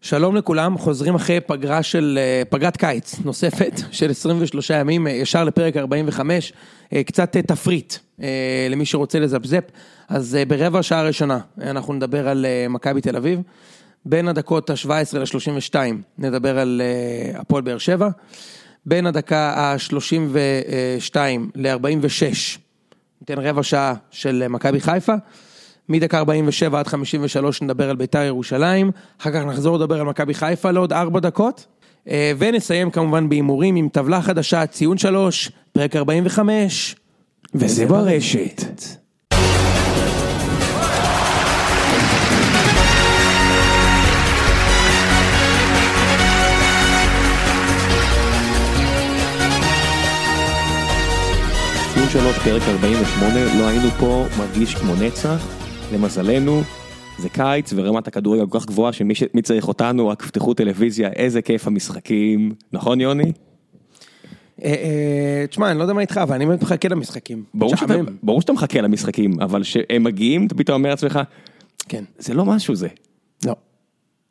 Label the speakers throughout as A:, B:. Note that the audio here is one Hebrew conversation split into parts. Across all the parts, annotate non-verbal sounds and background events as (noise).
A: שלום לכולם, חוזרים אחרי פגרה של, אה, פגרת קיץ נוספת (laughs) של 23 ימים, אה, ישר לפרק 45, קצת אה, תפריט אה, למי שרוצה לזפזפ. אז אה, ברבע שעה ראשונה אנחנו נדבר על אה, מכבי תל אביב, בין הדקות ה-17 ל-32 נדבר על אה, הפועל באר שבע, בין הדקה ה-32 ל-46 ניתן רבע שעה של אה, מכבי חיפה. מדקה 47 עד 53 נדבר על ביתר ירושלים, אחר כך נחזור לדבר על מכבי חיפה לעוד 4 דקות, אה, ונסיים כמובן בהימורים עם טבלה חדשה, ציון 3, פרק 45,
B: וזה ברשת. ציון 3, פרק 48, לא היינו פה, מרגיש כמו נצח. למזלנו, זה קיץ ורמת הכדורגל כל כך גבוהה שמי ש... צריך אותנו, רק פתחו טלוויזיה, איזה כיף המשחקים, נכון יוני?
A: אה, תשמע, אני לא יודע מה איתך, אבל אני באמת מחכה למשחקים.
B: ברור שאתה, ברור שאתה מחכה למשחקים, אבל כשהם מגיעים, אתה פתאום אומר לעצמך, כן. זה לא משהו זה.
A: לא.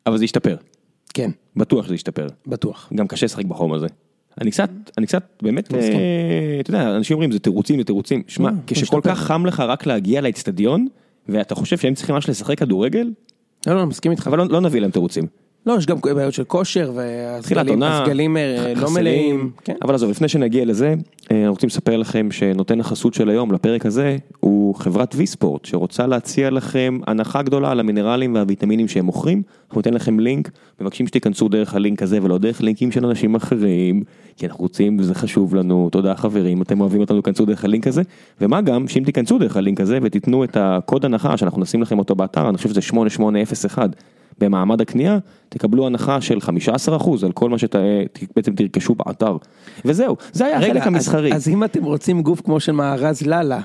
B: אבל זה ישתפר.
A: כן.
B: בטוח שזה ישתפר.
A: בטוח.
B: גם קשה לשחק בחום הזה. אני קצת, אני קצת באמת, אה, אתה יודע, אנשים אומרים זה תירוצים, זה תירוצים. שמע, כשכל כך חם לך רק להגיע לאצטדיון, ואתה חושב שהם צריכים ממש לשחק כדורגל?
A: לא, לא, מסכים איתך.
B: אבל לא, לא נביא להם תירוצים.
A: לא, יש גם בעיות של כושר, והסגלים לא מלאים.
B: כן. אבל עזוב, לפני שנגיע לזה, אנחנו רוצים לספר לכם שנותן החסות של היום לפרק הזה, הוא חברת ויספורט, שרוצה להציע לכם הנחה גדולה על המינרלים והוויטמינים שהם מוכרים. אנחנו ניתן לכם לינק, מבקשים שתיכנסו דרך הלינק הזה ולא דרך לינקים של אנשים אחרים, כי אנחנו רוצים, זה חשוב לנו, תודה חברים, אתם אוהבים אותנו, כנסו דרך הלינק הזה, ומה גם שאם תיכנסו דרך הלינק הזה ותיתנו את הקוד הנחה שאנחנו נשים לכם אותו באתר, אני חושב שזה 8801. במעמד הקנייה, תקבלו הנחה של 15% על כל מה שבעצם תרכשו באתר. וזהו, זה היה רגע, החלק המסחרי.
A: אז, אז אם אתם רוצים גוף כמו של מארז לאללה.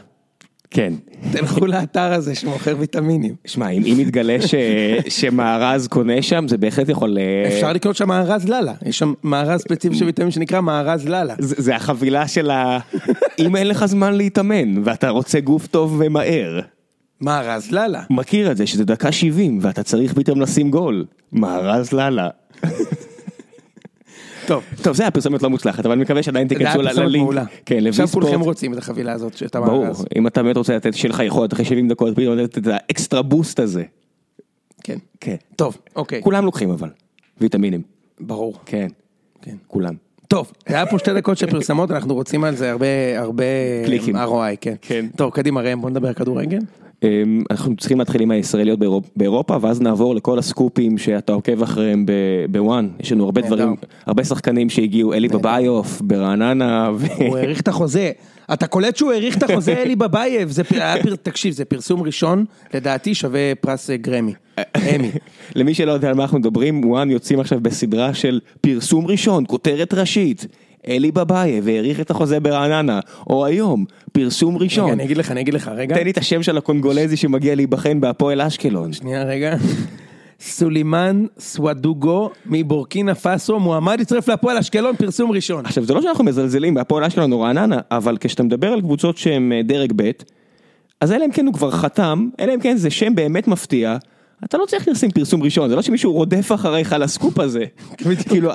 B: כן.
A: תלכו לאתר הזה שמוכר ויטמינים.
B: שמע, אם, אם יתגלה ש,
A: (laughs)
B: שמארז קונה שם, זה בהחלט יכול... אה,
A: אפשר לקנות שם מארז לאללה. יש שם מארז ספציפי של ויטמין שנקרא מארז לאללה.
B: זה, זה החבילה של ה... אם אין לך זמן להתאמן, ואתה רוצה גוף טוב ומהר.
A: מארז לאללה.
B: מכיר את זה שזה דקה 70 ואתה צריך פתאום לשים גול. מארז לאללה.
A: טוב.
B: טוב, זה היה פרסומת לא מוצלחת, אבל אני מקווה שעדיין תיכנסו ללינק.
A: זה היה פרסומת מעולה.
B: כן, לוי
A: ספורט. עכשיו כולכם רוצים את החבילה הזאת שאתה מארז.
B: ברור, אם אתה באמת רוצה לתת, שיהיה לך יכולת אחרי 70 דקות, פתאום לתת את האקסטרה בוסט הזה.
A: כן.
B: כן.
A: טוב, אוקיי.
B: כולם לוקחים אבל, ויטמינים.
A: ברור.
B: כן.
A: כן.
B: כולם.
A: טוב, היה פה שתי דקות של פרסמות, אנחנו רוצים על זה הרבה, הרבה...
B: קליקים.
A: ROI, כן.
B: כן.
A: טוב, קדימה ראם, בוא נדבר כדורגל.
B: אמ, אנחנו צריכים להתחיל עם הישראליות באירופ, באירופה, ואז נעבור לכל הסקופים שאתה עוקב אחריהם בוואן. יש לנו הרבה דברים, הרבה שחקנים שהגיעו, אלי בביוף ברעננה.
A: ו...
B: (laughs)
A: הוא האריך את החוזה. אתה קולט שהוא האריך את החוזה אלי בבייב, זה היה, פר... תקשיב, זה פרסום ראשון, לדעתי שווה פרס אה,
B: (laughs)
A: גרמי, אמי.
B: למי שלא יודע על מה אנחנו מדברים, וואן יוצאים עכשיו בסדרה של פרסום ראשון, כותרת ראשית. אלי בבייב האריך את החוזה ברעננה, או היום, פרסום ראשון. רגע,
A: אני אגיד לך, אני אגיד לך, רגע.
B: תן לי את השם של הקונגולזי שמגיע להיבחן בהפועל אשקלון.
A: שנייה, רגע. סולימן סוואדוגו מבורקינה פאסו, מועמד יצטרף להפועל אשקלון, פרסום ראשון.
B: עכשיו, זה לא שאנחנו מזלזלים בהפועל אשקלון או רעננה, אבל כשאתה מדבר על קבוצות שהן אה, דרג ב', אז אלא אם כן הוא כבר חתם, אלא אם כן זה שם באמת מפתיע. אתה לא צריך לשים פרסום ראשון, זה לא שמישהו רודף אחריך לסקופ הזה.
A: כאילו,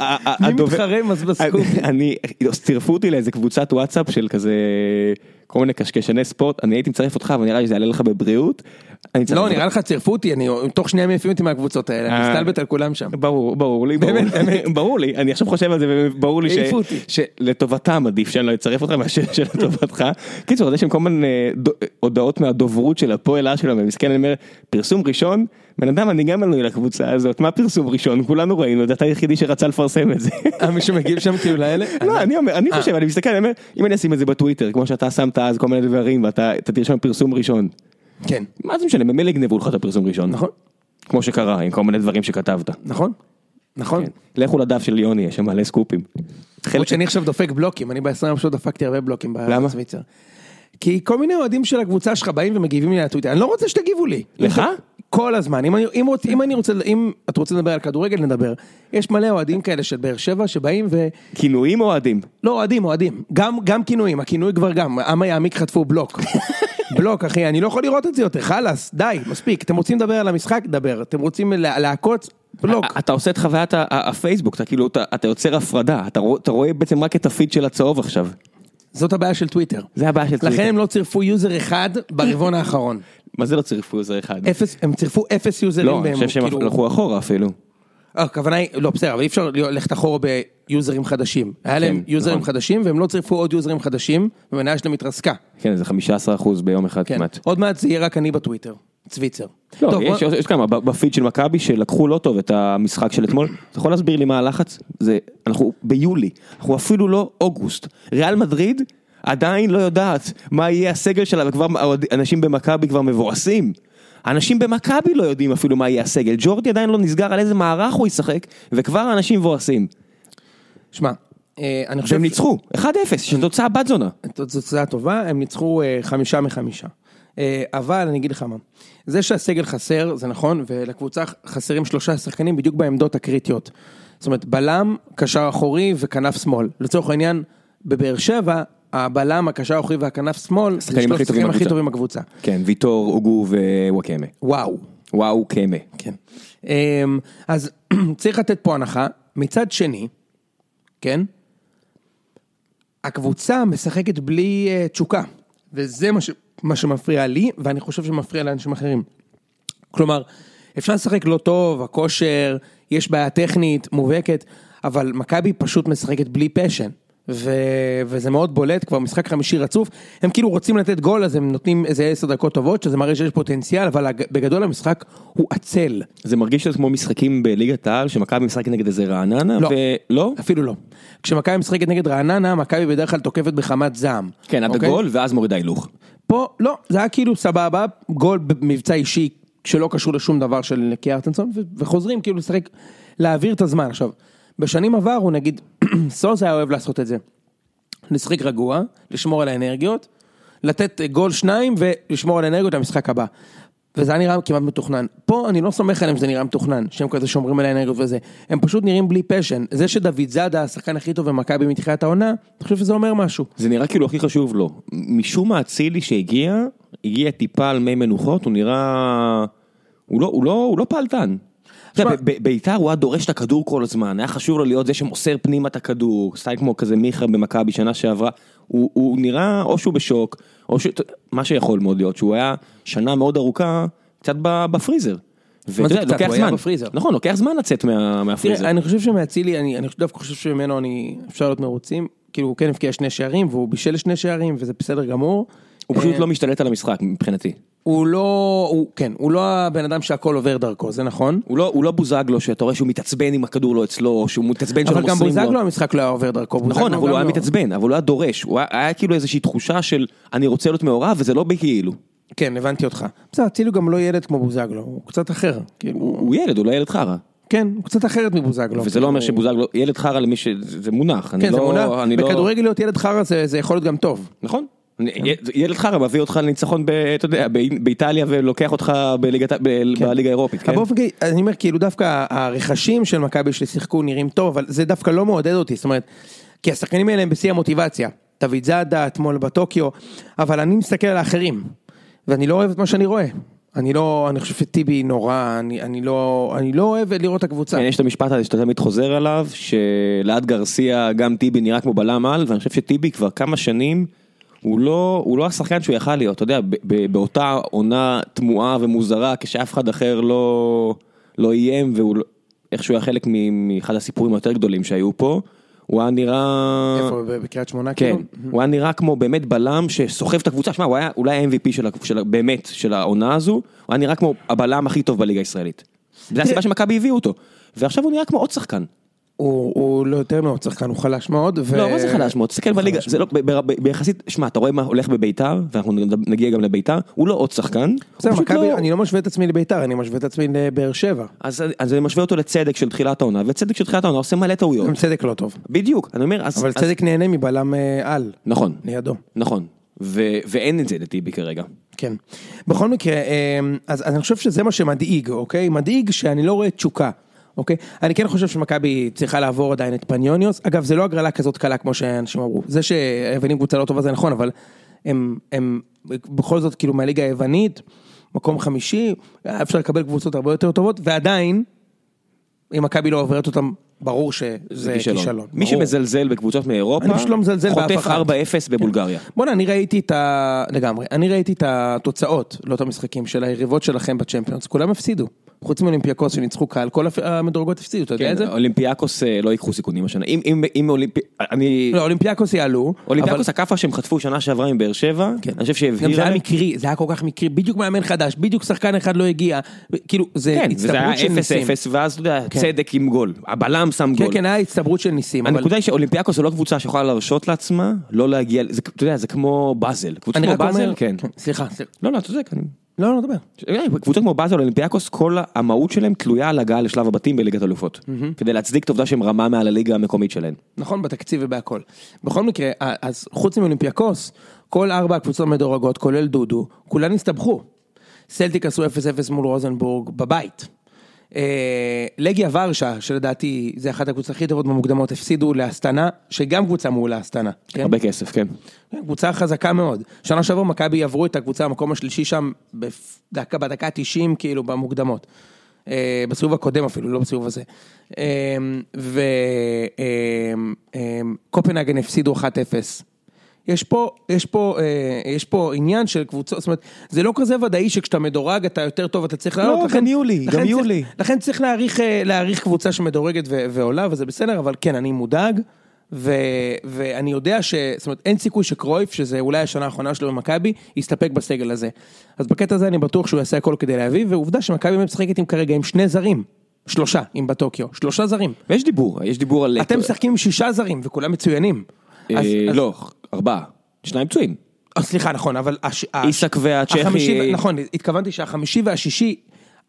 A: מי מתחרם אז בסקופ?
B: אני, לא, צירפו אותי לאיזה קבוצת וואטסאפ של כזה כל מיני קשקשני ספורט, אני הייתי מצרף אותך, אבל נראה לי שזה יעלה לך בבריאות.
A: לא, נראה לך צירפו אותי, אני תוך שנייה מעיפים אותי מהקבוצות האלה, אני מסתלבט על כולם שם.
B: ברור, ברור לי, באמת, ברור לי, אני עכשיו חושב על זה, וברור לי שלטובתם עדיף שאני לא אצרף אותך מאשר (laughs) שלטובתך. קיצור, יש שם כל מיני אה, הודעות מהדוברות של הפועל אשקלון, ומסכן, אני אומר, פרסום ראשון, בן אדם, אני גם מנוי לקבוצה הזאת, מה פרסום ראשון? כולנו ראינו, אתה היחידי שרצה לפרסם את זה. (laughs)
A: מישהו מגיב שם כאילו לאלה?
B: לא, אני אומר, אני חושב, אני מסתכל, אני אומר, אם אני אשים את זה בטוויטר, כמו שאתה שמת אז כל מיני דברים, ואתה תרשום פרסום ראשון.
A: כן.
B: מה זה משנה, ממילא יגנבו לך את הפרסום ראשון.
A: נכון.
B: כמו שקרה, עם כל מיני דברים שכתבת.
A: נכון. נכון.
B: כן. לכו לדף של יוני, יש שם מלא סקופים.
A: חלק שאני עכשיו דופק בלוקים, אני ב-20 יום דפקתי הרבה בלוקים
B: בארץ
A: ויצר. כי כל מיני אוהדים של הקבוצה שלך באים ומגיבים לי לטוויטר, אני לא רוצה שתגיבו לי.
B: לך?
A: כל הזמן, אם, אני, אם, רוצ, אם, אני רוצה, אם את רוצה לדבר על כדורגל נדבר, יש מלא אוהדים כאלה של באר שבע שבאים ו...
B: כינויים או אוהדים?
A: לא אוהדים, אוהדים, גם, גם כינויים, הכינוי כבר גם, עמה יעמיק חטפו
B: (laughs)
A: בלוק. בלוק אחי, אני לא יכול לראות את זה יותר, חלאס, די, מספיק, אתם רוצים לדבר על המשחק, דבר, אתם רוצים לה, לעקוץ, בלוק.
B: אה, אתה עושה את חוויית ה- ה- הפייסבוק, אתה כאילו, אתה אתה יוצר הפרדה, אתה רוא- אתה רואה בעצם רק את הפיד של הצהוב עכשיו.
A: זאת הבעיה של טוויטר.
B: זה הבעיה של
A: לכן
B: טוויטר.
A: הם לא צירפו יוזר אחד ברבעון האחרון.
B: מה זה לא צירפו איזה אחד?
A: אפס, הם צירפו אפס יוזרים.
B: לא, אני
A: והם
B: חושב שהם
A: כאילו-
B: הלכו אחורה אפילו.
A: אה, הכוונה היא, לא בסדר, אבל אי אפשר ללכת אחורה ביוזרים חדשים. היה להם יוזרים
B: נכון.
A: חדשים והם לא צירפו עוד יוזרים חדשים, והמניה שלהם התרסקה.
B: כן, זה 15% ביום אחד
A: כן.
B: כמעט.
A: עוד מעט זה יהיה רק אני בטוויטר. צוויצר.
B: לא,
A: טוב,
B: יש,
A: בוא-
B: יש, יש כמה, ב- בפיד של מכבי שלקחו לא טוב את המשחק של אתמול. אתה יכול להסביר לי מה הלחץ? זה, אנחנו ביולי, אנחנו אפילו לא אוגוסט. ריאל מדריד עדיין לא יודעת מה יהיה הסגל שלה, וכבר האוהד- אנשים במכבי כבר מבואסים. אנשים במכבי לא יודעים אפילו מה יהיה הסגל. ג'ורדי עדיין לא נסגר על איזה מערך הוא ישחק, וכבר האנשים מבואסים.
A: שמע, אה, אני חושב...
B: שהם ניצחו, 1-0, שזו תוצאה בת זונה.
A: זאת תוצאה טובה, הם ניצחו אה, חמישה מחמישה. אה, אבל אני אגיד לך מה, זה שהסגל חסר, זה נכון, ולקבוצה חסרים שלושה שחקנים בדיוק בעמדות הקריטיות. זאת אומרת, בלם, קשר אחורי וכנף שמאל. לצורך העניין, בבאר שבע, הבלם, הקשר האחורי והכנף שמאל, זה
B: השחקנים
A: שלושת
B: הכי
A: השחקנים
B: טובים
A: הכי
B: בקבוצה.
A: טובים בקבוצה.
B: כן, ויטור, אוגו ווואקמה.
A: וואו.
B: וואו, קמה.
A: כן. אמ, אז (clears throat) צריך לתת פה הנחה. מצד שני, כן, הקבוצה משחקת בלי אה, תשוקה, וזה מה, ש... מה שמפריע לי, ואני חושב שמפריע לאנשים אחרים. כלומר, אפשר לשחק לא טוב, הכושר, יש בעיה טכנית מובהקת, אבל מכבי פשוט משחקת בלי פשן. ו... וזה מאוד בולט, כבר משחק חמישי רצוף, הם כאילו רוצים לתת גול, אז הם נותנים איזה עשר דקות טובות, שזה מראה שיש פוטנציאל, אבל הג- בגדול המשחק הוא עצל.
B: זה מרגיש שזה כמו משחקים בליגת העל שמכבי משחק נגד איזה רעננה
A: לא.
B: ולא?
A: אפילו לא. כשמכבי משחקת נגד רעננה, מכבי בדרך כלל תוקפת בחמת זעם.
B: כן, עד
A: אוקיי?
B: הגול ואז מורידה הילוך.
A: פה, לא, זה היה כאילו סבבה, גול במבצע אישי שלא קשור לשום דבר של קיארטנסון, ו- וחוזרים כאילו לשחק, להעביר את הזמן. עכשיו, בשנים עברו, נגיד, (clears throat) סוס היה אוהב לעשות את זה. לשחק רגוע, לשמור על האנרגיות, לתת אה, גול שניים ולשמור על האנרגיות למשחק הבא. וזה היה נראה כמעט מתוכנן. פה אני לא סומך עליהם שזה נראה מתוכנן, שהם כזה שומרים על האנרגיות וזה. הם פשוט נראים בלי פשן. זה שדוד זאדה, השחקן הכי טוב במכבי מתחילת העונה, אני חושב שזה אומר משהו.
B: זה נראה כאילו הכי חשוב לו. משום מה אצילי שהגיע, הגיע טיפה על מי מנוחות, הוא נראה... הוא לא, הוא לא, הוא לא פעלתן. אתה יודע, ב- ב- בית"ר הוא היה דורש את הכדור כל הזמן, היה חשוב לו להיות זה שמוסר פנימה את הכדור, סטייל כמו כזה מיכה במכבי שנה שעברה, הוא, הוא נראה או שהוא בשוק, או ש... מה שיכול מאוד להיות, שהוא היה שנה מאוד ארוכה, קצת ב- בפריזר. ואתה יודע,
A: קצת?
B: לוקח
A: הוא היה
B: זמן.
A: בפריזר.
B: נכון, לוקח זמן לצאת מה, מהפריזר.
A: תראה, אני חושב שמאצילי, אני, אני דווקא חושב שממנו אני, אפשר להיות מרוצים. כאילו, הוא כן הבקיע שני שערים, והוא בישל שני שערים, וזה בסדר גמור.
B: הוא
A: אה,
B: פשוט לא משתלט על המשחק מבחינתי.
A: הוא לא, הוא, כן, הוא לא הבן אדם שהכל עובר דרכו, זה נכון.
B: הוא לא, הוא לא בוזגלו שאתה רואה שהוא מתעצבן אם הכדור לא אצלו, או שהוא מתעצבן שלא
A: אבל גם
B: מוסרים לו.
A: בוזגלו המשחק לא היה עובר דרכו.
B: נכון,
A: בוזגלו
B: אבל הוא
A: גם
B: היה
A: לא.
B: מתעצבן, אבל הוא היה דורש, הוא היה, היה כאילו איזושהי תחושה של אני רוצה להיות מעורב וזה לא בכאילו.
A: כן, הבנתי אותך. בסדר, אצילי גם לא ילד כמו בוזגלו, הוא קצת אחר. כאילו,
B: הוא ילד, הוא לא ילד חרא.
A: כן, הוא קצת אחרת מבוזגלו.
B: וזה לא אומר שבוזגלו, ילד חרא למי ש... זה זה מונח, אני
A: כן, זה
B: לא...
A: מונע.
B: אני לא-
A: בכדורגל כן. להיות ילד חרא זה זה יכול להיות גם טוב.
B: נכון. אני- י- ילד חרא מביא אותך לניצחון, ב- אתה יודע, ב- באיטליה ולוקח אותך בליגת ה- ב- בליגה האירופית, כן?
A: אבל באופן כללי, אני אומר, כאילו דווקא הרכשים של מכבי ששיחקו נראים טוב, אבל זה דווקא לא מעודד אותי, זאת אומרת, כי השחקנים האלה הם בשיא המוטיבציה. דוד זאדה, אתמול בטוקיו, אבל אני מסתכל על האחרים, ואני לא אוהב את מה שאני רואה. אני לא, אני חושב שטיבי נורא, אני, אני לא, אני לא אוהב לראות את הקבוצה.
B: כן, יש את המשפט הזה שאתה תמיד חוזר עליו, שליד גרסיה גם טיבי נראה כמו בלם על, ואני חושב שטיבי כבר כמה שנים, הוא לא, הוא לא השחקן שהוא יכל להיות, אתה יודע, ב- ב- באותה עונה תמוהה ומוזרה, כשאף אחד אחר לא, לא איים, והוא לא- איכשהו היה חלק מ- מאחד הסיפורים היותר גדולים שהיו פה, הוא היה נראה...
A: איפה, ב- בקריית שמונה,
B: כן,
A: כאילו?
B: הוא היה נראה כמו באמת בלם שסוחב את הקבוצה, שמע, הוא היה אולי ה-MVP של, ה- של, ה- באמת של העונה הזו, הוא היה נראה כמו הבלם הכי טוב בליגה הישראלית. זו הסיבה שמכבי הביאו אותו, ועכשיו הוא נראה כמו עוד שחקן.
A: הוא, הוא לא יותר מאוד שחקן, הוא חלש מאוד. ו... נכון,
B: לא, מה זה חלש מאוד? תסתכל בליגה, זה לא, ב- ב- ב- ביחסית, שמע, אתה רואה מה הולך בביתר, ואנחנו נגיע גם לביתר, הוא לא עוד שחקן, הוא
A: בסדר,
B: פשוט
A: מכבי,
B: לא-
A: אני לא משווה את עצמי לביתר, אני משווה את עצמי לבאר שבע.
B: אז אז אני משווה אותו לצדק של תחילת העונה, וצדק של תחילת העונה עושה מלא טעויות,
A: גם צדק לא טוב.
B: בדיוק, אני אומר, אז...
A: אבל
B: אז-
A: צדק נהנה מבלם אה, על,
B: נכון,
A: לידו.
B: נכון, ו- ואין את זה לטיבי כרגע.
A: כן. בכל מקרה, אמ, אז, אז אני חושב שזה מה שמדאיג, אוקיי? מדאיג שאני לא רואה תשוקה, אוקיי? אני כן חושב שמכבי צריכה לעבור עדיין את פניוניוס. אגב, זה לא הגרלה כזאת קלה כמו שאנשים אמרו. זה שהיוונים קבוצה לא טובה זה נכון, אבל הם, הם בכל זאת כאילו מהליגה אה, היוונית, מקום חמישי, אפשר לקבל קבוצות הרבה יותר טובות, ועדיין, אם מכבי לא עוברת אותם, ברור שזה כישלון.
B: מי
A: ברור.
B: שמזלזל בקבוצות מאירופה,
A: אני פשוט לא מזלזל באף כן.
B: חוטף
A: אחד.
B: 4-0 בבולגריה.
A: בואנה, אני ראיתי את ה... לגמרי. אני ראיתי את התוצאות, לא את המשחקים, של היריבות שלכם בצ'מפיונס. כולם הפסידו. חוץ מאולימפיאקוס שניצחו קהל, כל הפ- המדורגות הפסידו, אתה יודע
B: כן,
A: את זה?
B: אולימפיאקוס אה, לא ייקחו סיכונים השנה. אם- אם- אם אולימפי... אני...
A: לא, אולימפיאקוס יעלו. אבל-
B: אולימפיאקוס הכאפה שהם חטפו שנה שעברה עם באר שבע,
A: כן.
B: אני חושב
A: גם
B: שהבהירה
A: זה היה
B: להם.
A: מקרי, זה היה כל כך מקרי, בדיוק מאמן חדש, בדיוק שחקן אחד לא הגיע, כאילו זה
B: כן, וזה היה
A: הצטברות של ניסים.
B: 0-0, ואז אתה יודע, צדק עם גול. הבלם שם
A: כן,
B: גול.
A: כן, היה הצטברות של ניסים, אבל
B: הנקודה היא שאולימפיאקוס זו לא קבוצה שיכולה להרשות לעצמה לא להגיע, זה- אתה יודע, זה כמו באזל. קבוצה
A: אני
B: כמו
A: רק
B: באזל,
A: אומר,
B: כן.
A: סליחה, סליחה.
B: לא, לא, אתה צודק. אני-
A: לא, לא, דבר.
B: אה, קבוצות כמו באזל, אולימפיאקוס, כל המהות שלהם תלויה על הגעה לשלב הבתים בליגת אלופות. כדי להצדיק את העובדה שהם רמה מעל הליגה המקומית שלהם.
A: נכון, בתקציב ובהכל. בכל מקרה, אה, אז חוץ מאולימפיאקוס, כל ארבע הקבוצות המדורגות, כולל דודו, כולן הסתבכו. סלטיק עשו 0-0 מול רוזנבורג בבית. אה, לגיה ורשה, שלדעתי זה אחת הקבוצות הכי טובות במוקדמות, הפסידו לאסטנה, שגם קבוצה מעולה אסטנה. כן?
B: הרבה כסף, כן.
A: כן, קבוצה חזקה מאוד. שנה שעברה מכבי עברו את הקבוצה במקום השלישי שם בדקה, בדקה ה-90 כאילו במוקדמות. אה, בסיבוב הקודם אפילו, לא בסיבוב הזה. אה, וקופנהגן אה, הפסידו 1-0. יש פה, יש, פה, אה, יש פה עניין של קבוצות, זאת אומרת, זה לא כזה ודאי שכשאתה מדורג אתה יותר טוב, אתה צריך לעלות.
B: לא, גם
A: לכן-
B: יולי, גם
A: לכן צריך-
B: יולי.
A: לכן צריך להעריך, אה, להעריך קבוצה שמדורגת ו- ועולה, וזה בסדר, אבל כן, אני מודאג, ו- ואני יודע ש... זאת אומרת, אין סיכוי שקרויף, שזה אולי השנה האחרונה שלו במכבי, יסתפק בסגל הזה. אז בקטע הזה אני בטוח שהוא יעשה הכל כדי להביא, ועובדה שמכבי משחקת עם כרגע עם שני זרים. שלושה, אם בטוקיו. שלושה זרים.
B: ויש דיבור, יש דיבור על...
A: אתם משחקים עם שישה זרים, וכולם מצוינים.
B: אה,
A: אז- אז-
B: לא, ארבעה. שניים פצועים.
A: אה, סליחה, נכון, אבל... הש- ה-
B: איסק והצ'כי-
A: החמישי ו- נכון, התכוונתי שהחמישי והשישי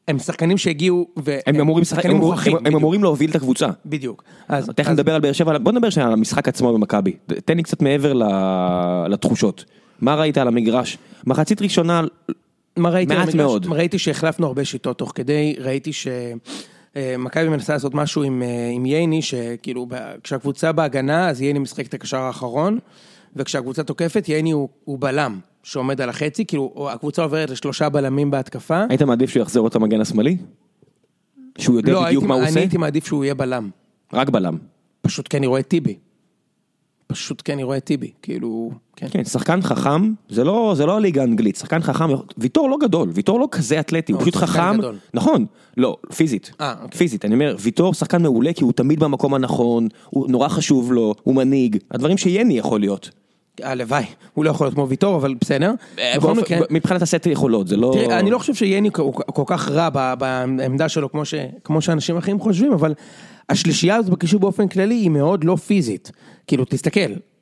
A: הם שחקנים שהגיעו, והם
B: הם אמורים לשחק-
A: כן, שחקנים
B: הם אמור-
A: מוכרחים,
B: הם- הם אמורים להוביל את הקבוצה.
A: בדיוק. אז
B: תכף
A: אז-
B: נדבר על באר שבע, בוא נדבר שנייה על המשחק עצמו במכבי. תן לי קצת מעבר ל- לתחושות. מה ראית על המגרש? מחצית ראשונה,
A: מה ראיתי?
B: מעט
A: במגרש?
B: מאוד.
A: ראיתי שהחלפנו הרבה שיטות תוך כדי, ראיתי שמכבי מנסה לעשות משהו עם, אה, עם ייני, שכאילו ב- כשהקבוצה בהגנה אז ייני משחק את הקשר האחרון, וכשהקבוצה תוקפת ייני הוא, הוא בלם שעומד על החצי, כאילו או- הקבוצה עוברת לשלושה בלמים בהתקפה.
B: היית מעדיף שהוא יחזיר אותו מגן השמאלי? שהוא יודע
A: לא,
B: בדיוק
A: הייתי,
B: מה הוא
A: אני
B: עושה?
A: הייתי מעדיף שהוא יהיה בלם,
B: רק בלם.
A: פשוט כי אני רואה את טיבי. פשוט כי אני רואה את טיבי, כאילו, כן.
B: כן, שחקן חכם, זה לא, זה לא הליגה האנגלית, שחקן חכם, ויטור לא גדול, ויטור לא כזה אתלטי, הוא
A: לא,
B: פשוט
A: שחקן
B: חכם,
A: גדול.
B: נכון, לא, פיזית,
A: אה, אוקיי.
B: פיזית, אני אומר, ויטור שחקן מעולה כי הוא תמיד במקום הנכון, הוא נורא חשוב לו, הוא מנהיג, הדברים שיני יכול להיות.
A: הלוואי, הוא לא יכול להיות כמו ויטור, אבל בסדר. אה, בכל
B: כן. אה, באופן-
A: מקרה,
B: מבחינת הסט יכולות, זה לא...
A: תראה, אני לא חושב שיני כל כל כך רע ב- בעמדה שלו כמו, ש, כמו שאנשים אחרים חושבים, אבל השלישייה הזאת בקישור באופן כללי היא מאוד לא פיזית. כאילו, תסתכל,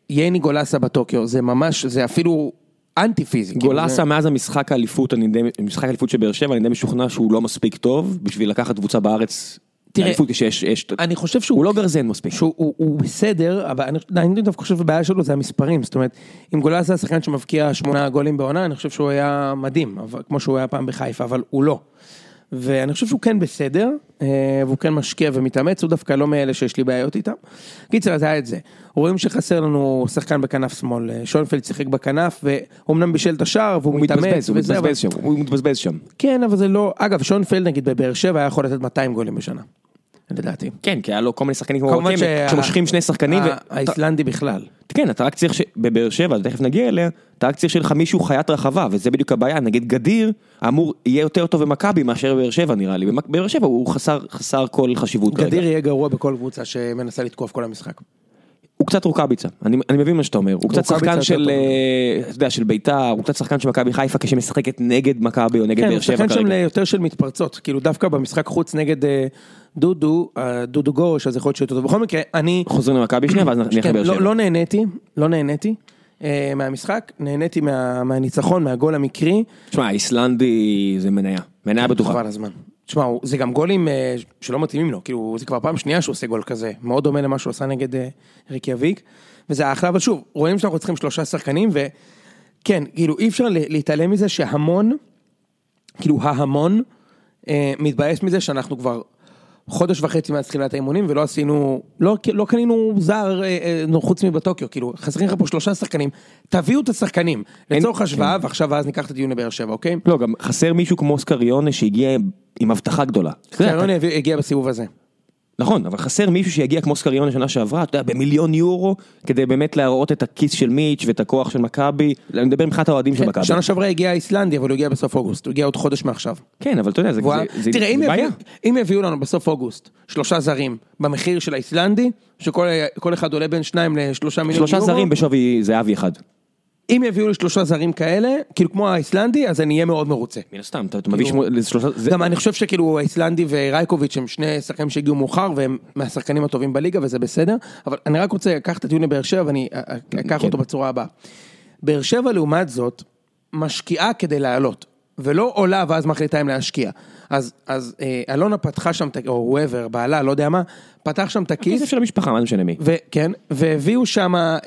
A: יני גולסה בטוקיו, זה ממש, זה אפילו אנטי פיזי. כאילו, זה-
B: גולסה מאז המשחק האליפות, אני די, משחק האליפות של באר שבע, אני די משוכנע שהוא לא מספיק טוב בשביל לקחת קבוצה בארץ.
A: תראה,
B: אליפות שיש, יש,
A: אני חושב שהוא...
B: הוא לא גרזן מספיק.
A: שהוא הוא, הוא בסדר, אבל אני, אני דווקא חושב שהבעיה שלו זה המספרים, זאת אומרת, אם גולאס היה שחקן שמבקיע שמונה גולים בעונה, אני חושב שהוא היה מדהים, אבל, כמו שהוא היה פעם בחיפה, אבל הוא לא. ואני חושב שהוא כן בסדר, אה, והוא כן משקיע ומתאמץ, הוא דווקא לא מאלה שיש לי בעיות איתם. קיצר, אז היה את זה. רואים שחסר לנו שחקן בכנף שמאל, אה, שוינפלד שיחק בכנף, ואומנם בישל את השער, והוא
B: הוא
A: מתאמץ,
B: מתבזבז, הוא
A: וזה, אבל-
B: מתבזבז שם, הוא מתבזבז שם.
A: כן, אבל זה לא, אגב, שוינפלד נגיד בבאר שבע היה יכול לתת 200 גולים בשנה, לדעתי.
B: כן, כי היה לו כל מיני שחקנים כמו
A: כמובן
B: רוקמת,
A: שה-
B: שמושכים שני שחקנים,
A: הא-
B: ו-
A: האיסלנדי בכלל.
B: כן, אתה רק צריך, ש- בבאר שבע, תכף נגיע אליה, אתה רק צריך שיהיה לך מישהו חיית רחבה, וזה בדיוק הבעיה, נגיד גדיר, אמור, יהיה יותר טוב במכבי מאשר בבאר שבע נראה לי, במק- בבאר שבע הוא חסר, חסר כל חשיבות כרגע.
A: גדיר יהיה גרוע בכל קבוצה שמנסה לתקוף כל המשחק.
B: הוא קצת רוקאביצה, אני, אני מבין מה שאתה אומר, הוא קצת
A: רוקאביצה
B: שחקן
A: יותר
B: של,
A: טוב.
B: אה, אתה יודע, של ביתר, הוא קצת שחקן של מכבי חיפה כשמשחקת נגד מכבי או נגד
A: כן, הוא
B: באר שבע
A: שחקן
B: כרגע.
A: שם ליותר של מתפרצות, כאילו דווקא במשחק חוץ נגד אה, דודו, אה, דודו גורש, אז יכול להיות שהוא יותר טוב. בכל מקרה, אני
B: חוזרים למכבי שנייה ואז נלך
A: כן,
B: לבאר
A: לא
B: שבע.
A: לא נהניתי, לא נהניתי אה, מהמשחק, נהניתי מה- מהניצחון, מהגול המקרי,
B: תשמע, האיסלנדי זה מניה,
A: כן,
B: מניה בטוחה.
A: חבל הזמן. תשמע, הוא- זה גם גולים אה, שלא מתאימים לו, כאילו זה כבר פעם שנייה שהוא עושה גול כזה, מאוד דומה למה שהוא עשה נגד אה, ריקיאביק, וזה היה אחלה, אבל שוב, רואים שאנחנו צריכים שלושה שחקנים, וכן, כאילו אי אפשר ל- להתעלם מזה שהמון, כאילו ההמון, אה, מתבאס מזה שאנחנו כבר חודש וחצי מאז תחילת האימונים ולא עשינו, לא, לא קנינו זר אה, אה, נו, חוץ מבטוקיו, כאילו חסרים לך פה שלושה שחקנים, תביאו את השחקנים, לצורך השוואה, ועכשיו ואז ניקח את הדיון לבאר שבע, אוקיי?
B: לא, גם חסר מישהו כמו סקריונה שהגיע עם הבטחה גדולה. אתה יודע,
A: קריון הגיע בסיבוב הזה.
B: נכון, אבל חסר מישהו שיגיע כמו סקריון לשנה שעברה, אתה יודע, במיליון יורו, כדי באמת להראות את הכיס של מיץ' ואת הכוח של מכבי, אני מדבר מבחינת האוהדים של מכבי.
A: כן, שנה שעברה הגיע האיסלנדי, אבל הוא הגיע בסוף אוגוסט, הוא הגיע עוד חודש מעכשיו.
B: כן, אבל אתה יודע, זה
A: והוא היה-
B: זה- זה-
A: תראה,
B: זה
A: אם
B: בעיה.
A: יביאו- אם יביאו לנו בסוף אוגוסט שלושה זרים במחיר של האיסלנדי, שכל כל אחד עולה בין שניים לשלושה מיליון יורו,
B: שלושה זרים בשווי זהבי אחד.
A: אם יביאו לי שלושה זרים כאלה, כאילו כמו האיסלנדי, אז אני אהיה מאוד מרוצה.
B: מן הסתם, אתה אתה מביא
A: כאילו-
B: שמו- שלושה... זה-
A: גם אני חושב שכאילו האיסלנדי ורייקוביץ' הם שני שחקנים שהגיעו מאוחר והם מהשחקנים הטובים בליגה וזה בסדר, אבל אני רק רוצה לקחת את הטיעון לבאר שבע ואני א- א- אקח
B: כן.
A: אותו בצורה הבאה. באר שבע לעומת זאת, משקיעה כדי לעלות, ולא עולה ואז מחליטה אם להשקיע. אז, אז אה, אלונה פתחה שם, את ה- או וואבר, בעלה, לא יודע מה, פתח שם את הכיס,
B: כסף של המשפחה, מה זה משנה מי.
A: וכן, כן, והביאו שם אה,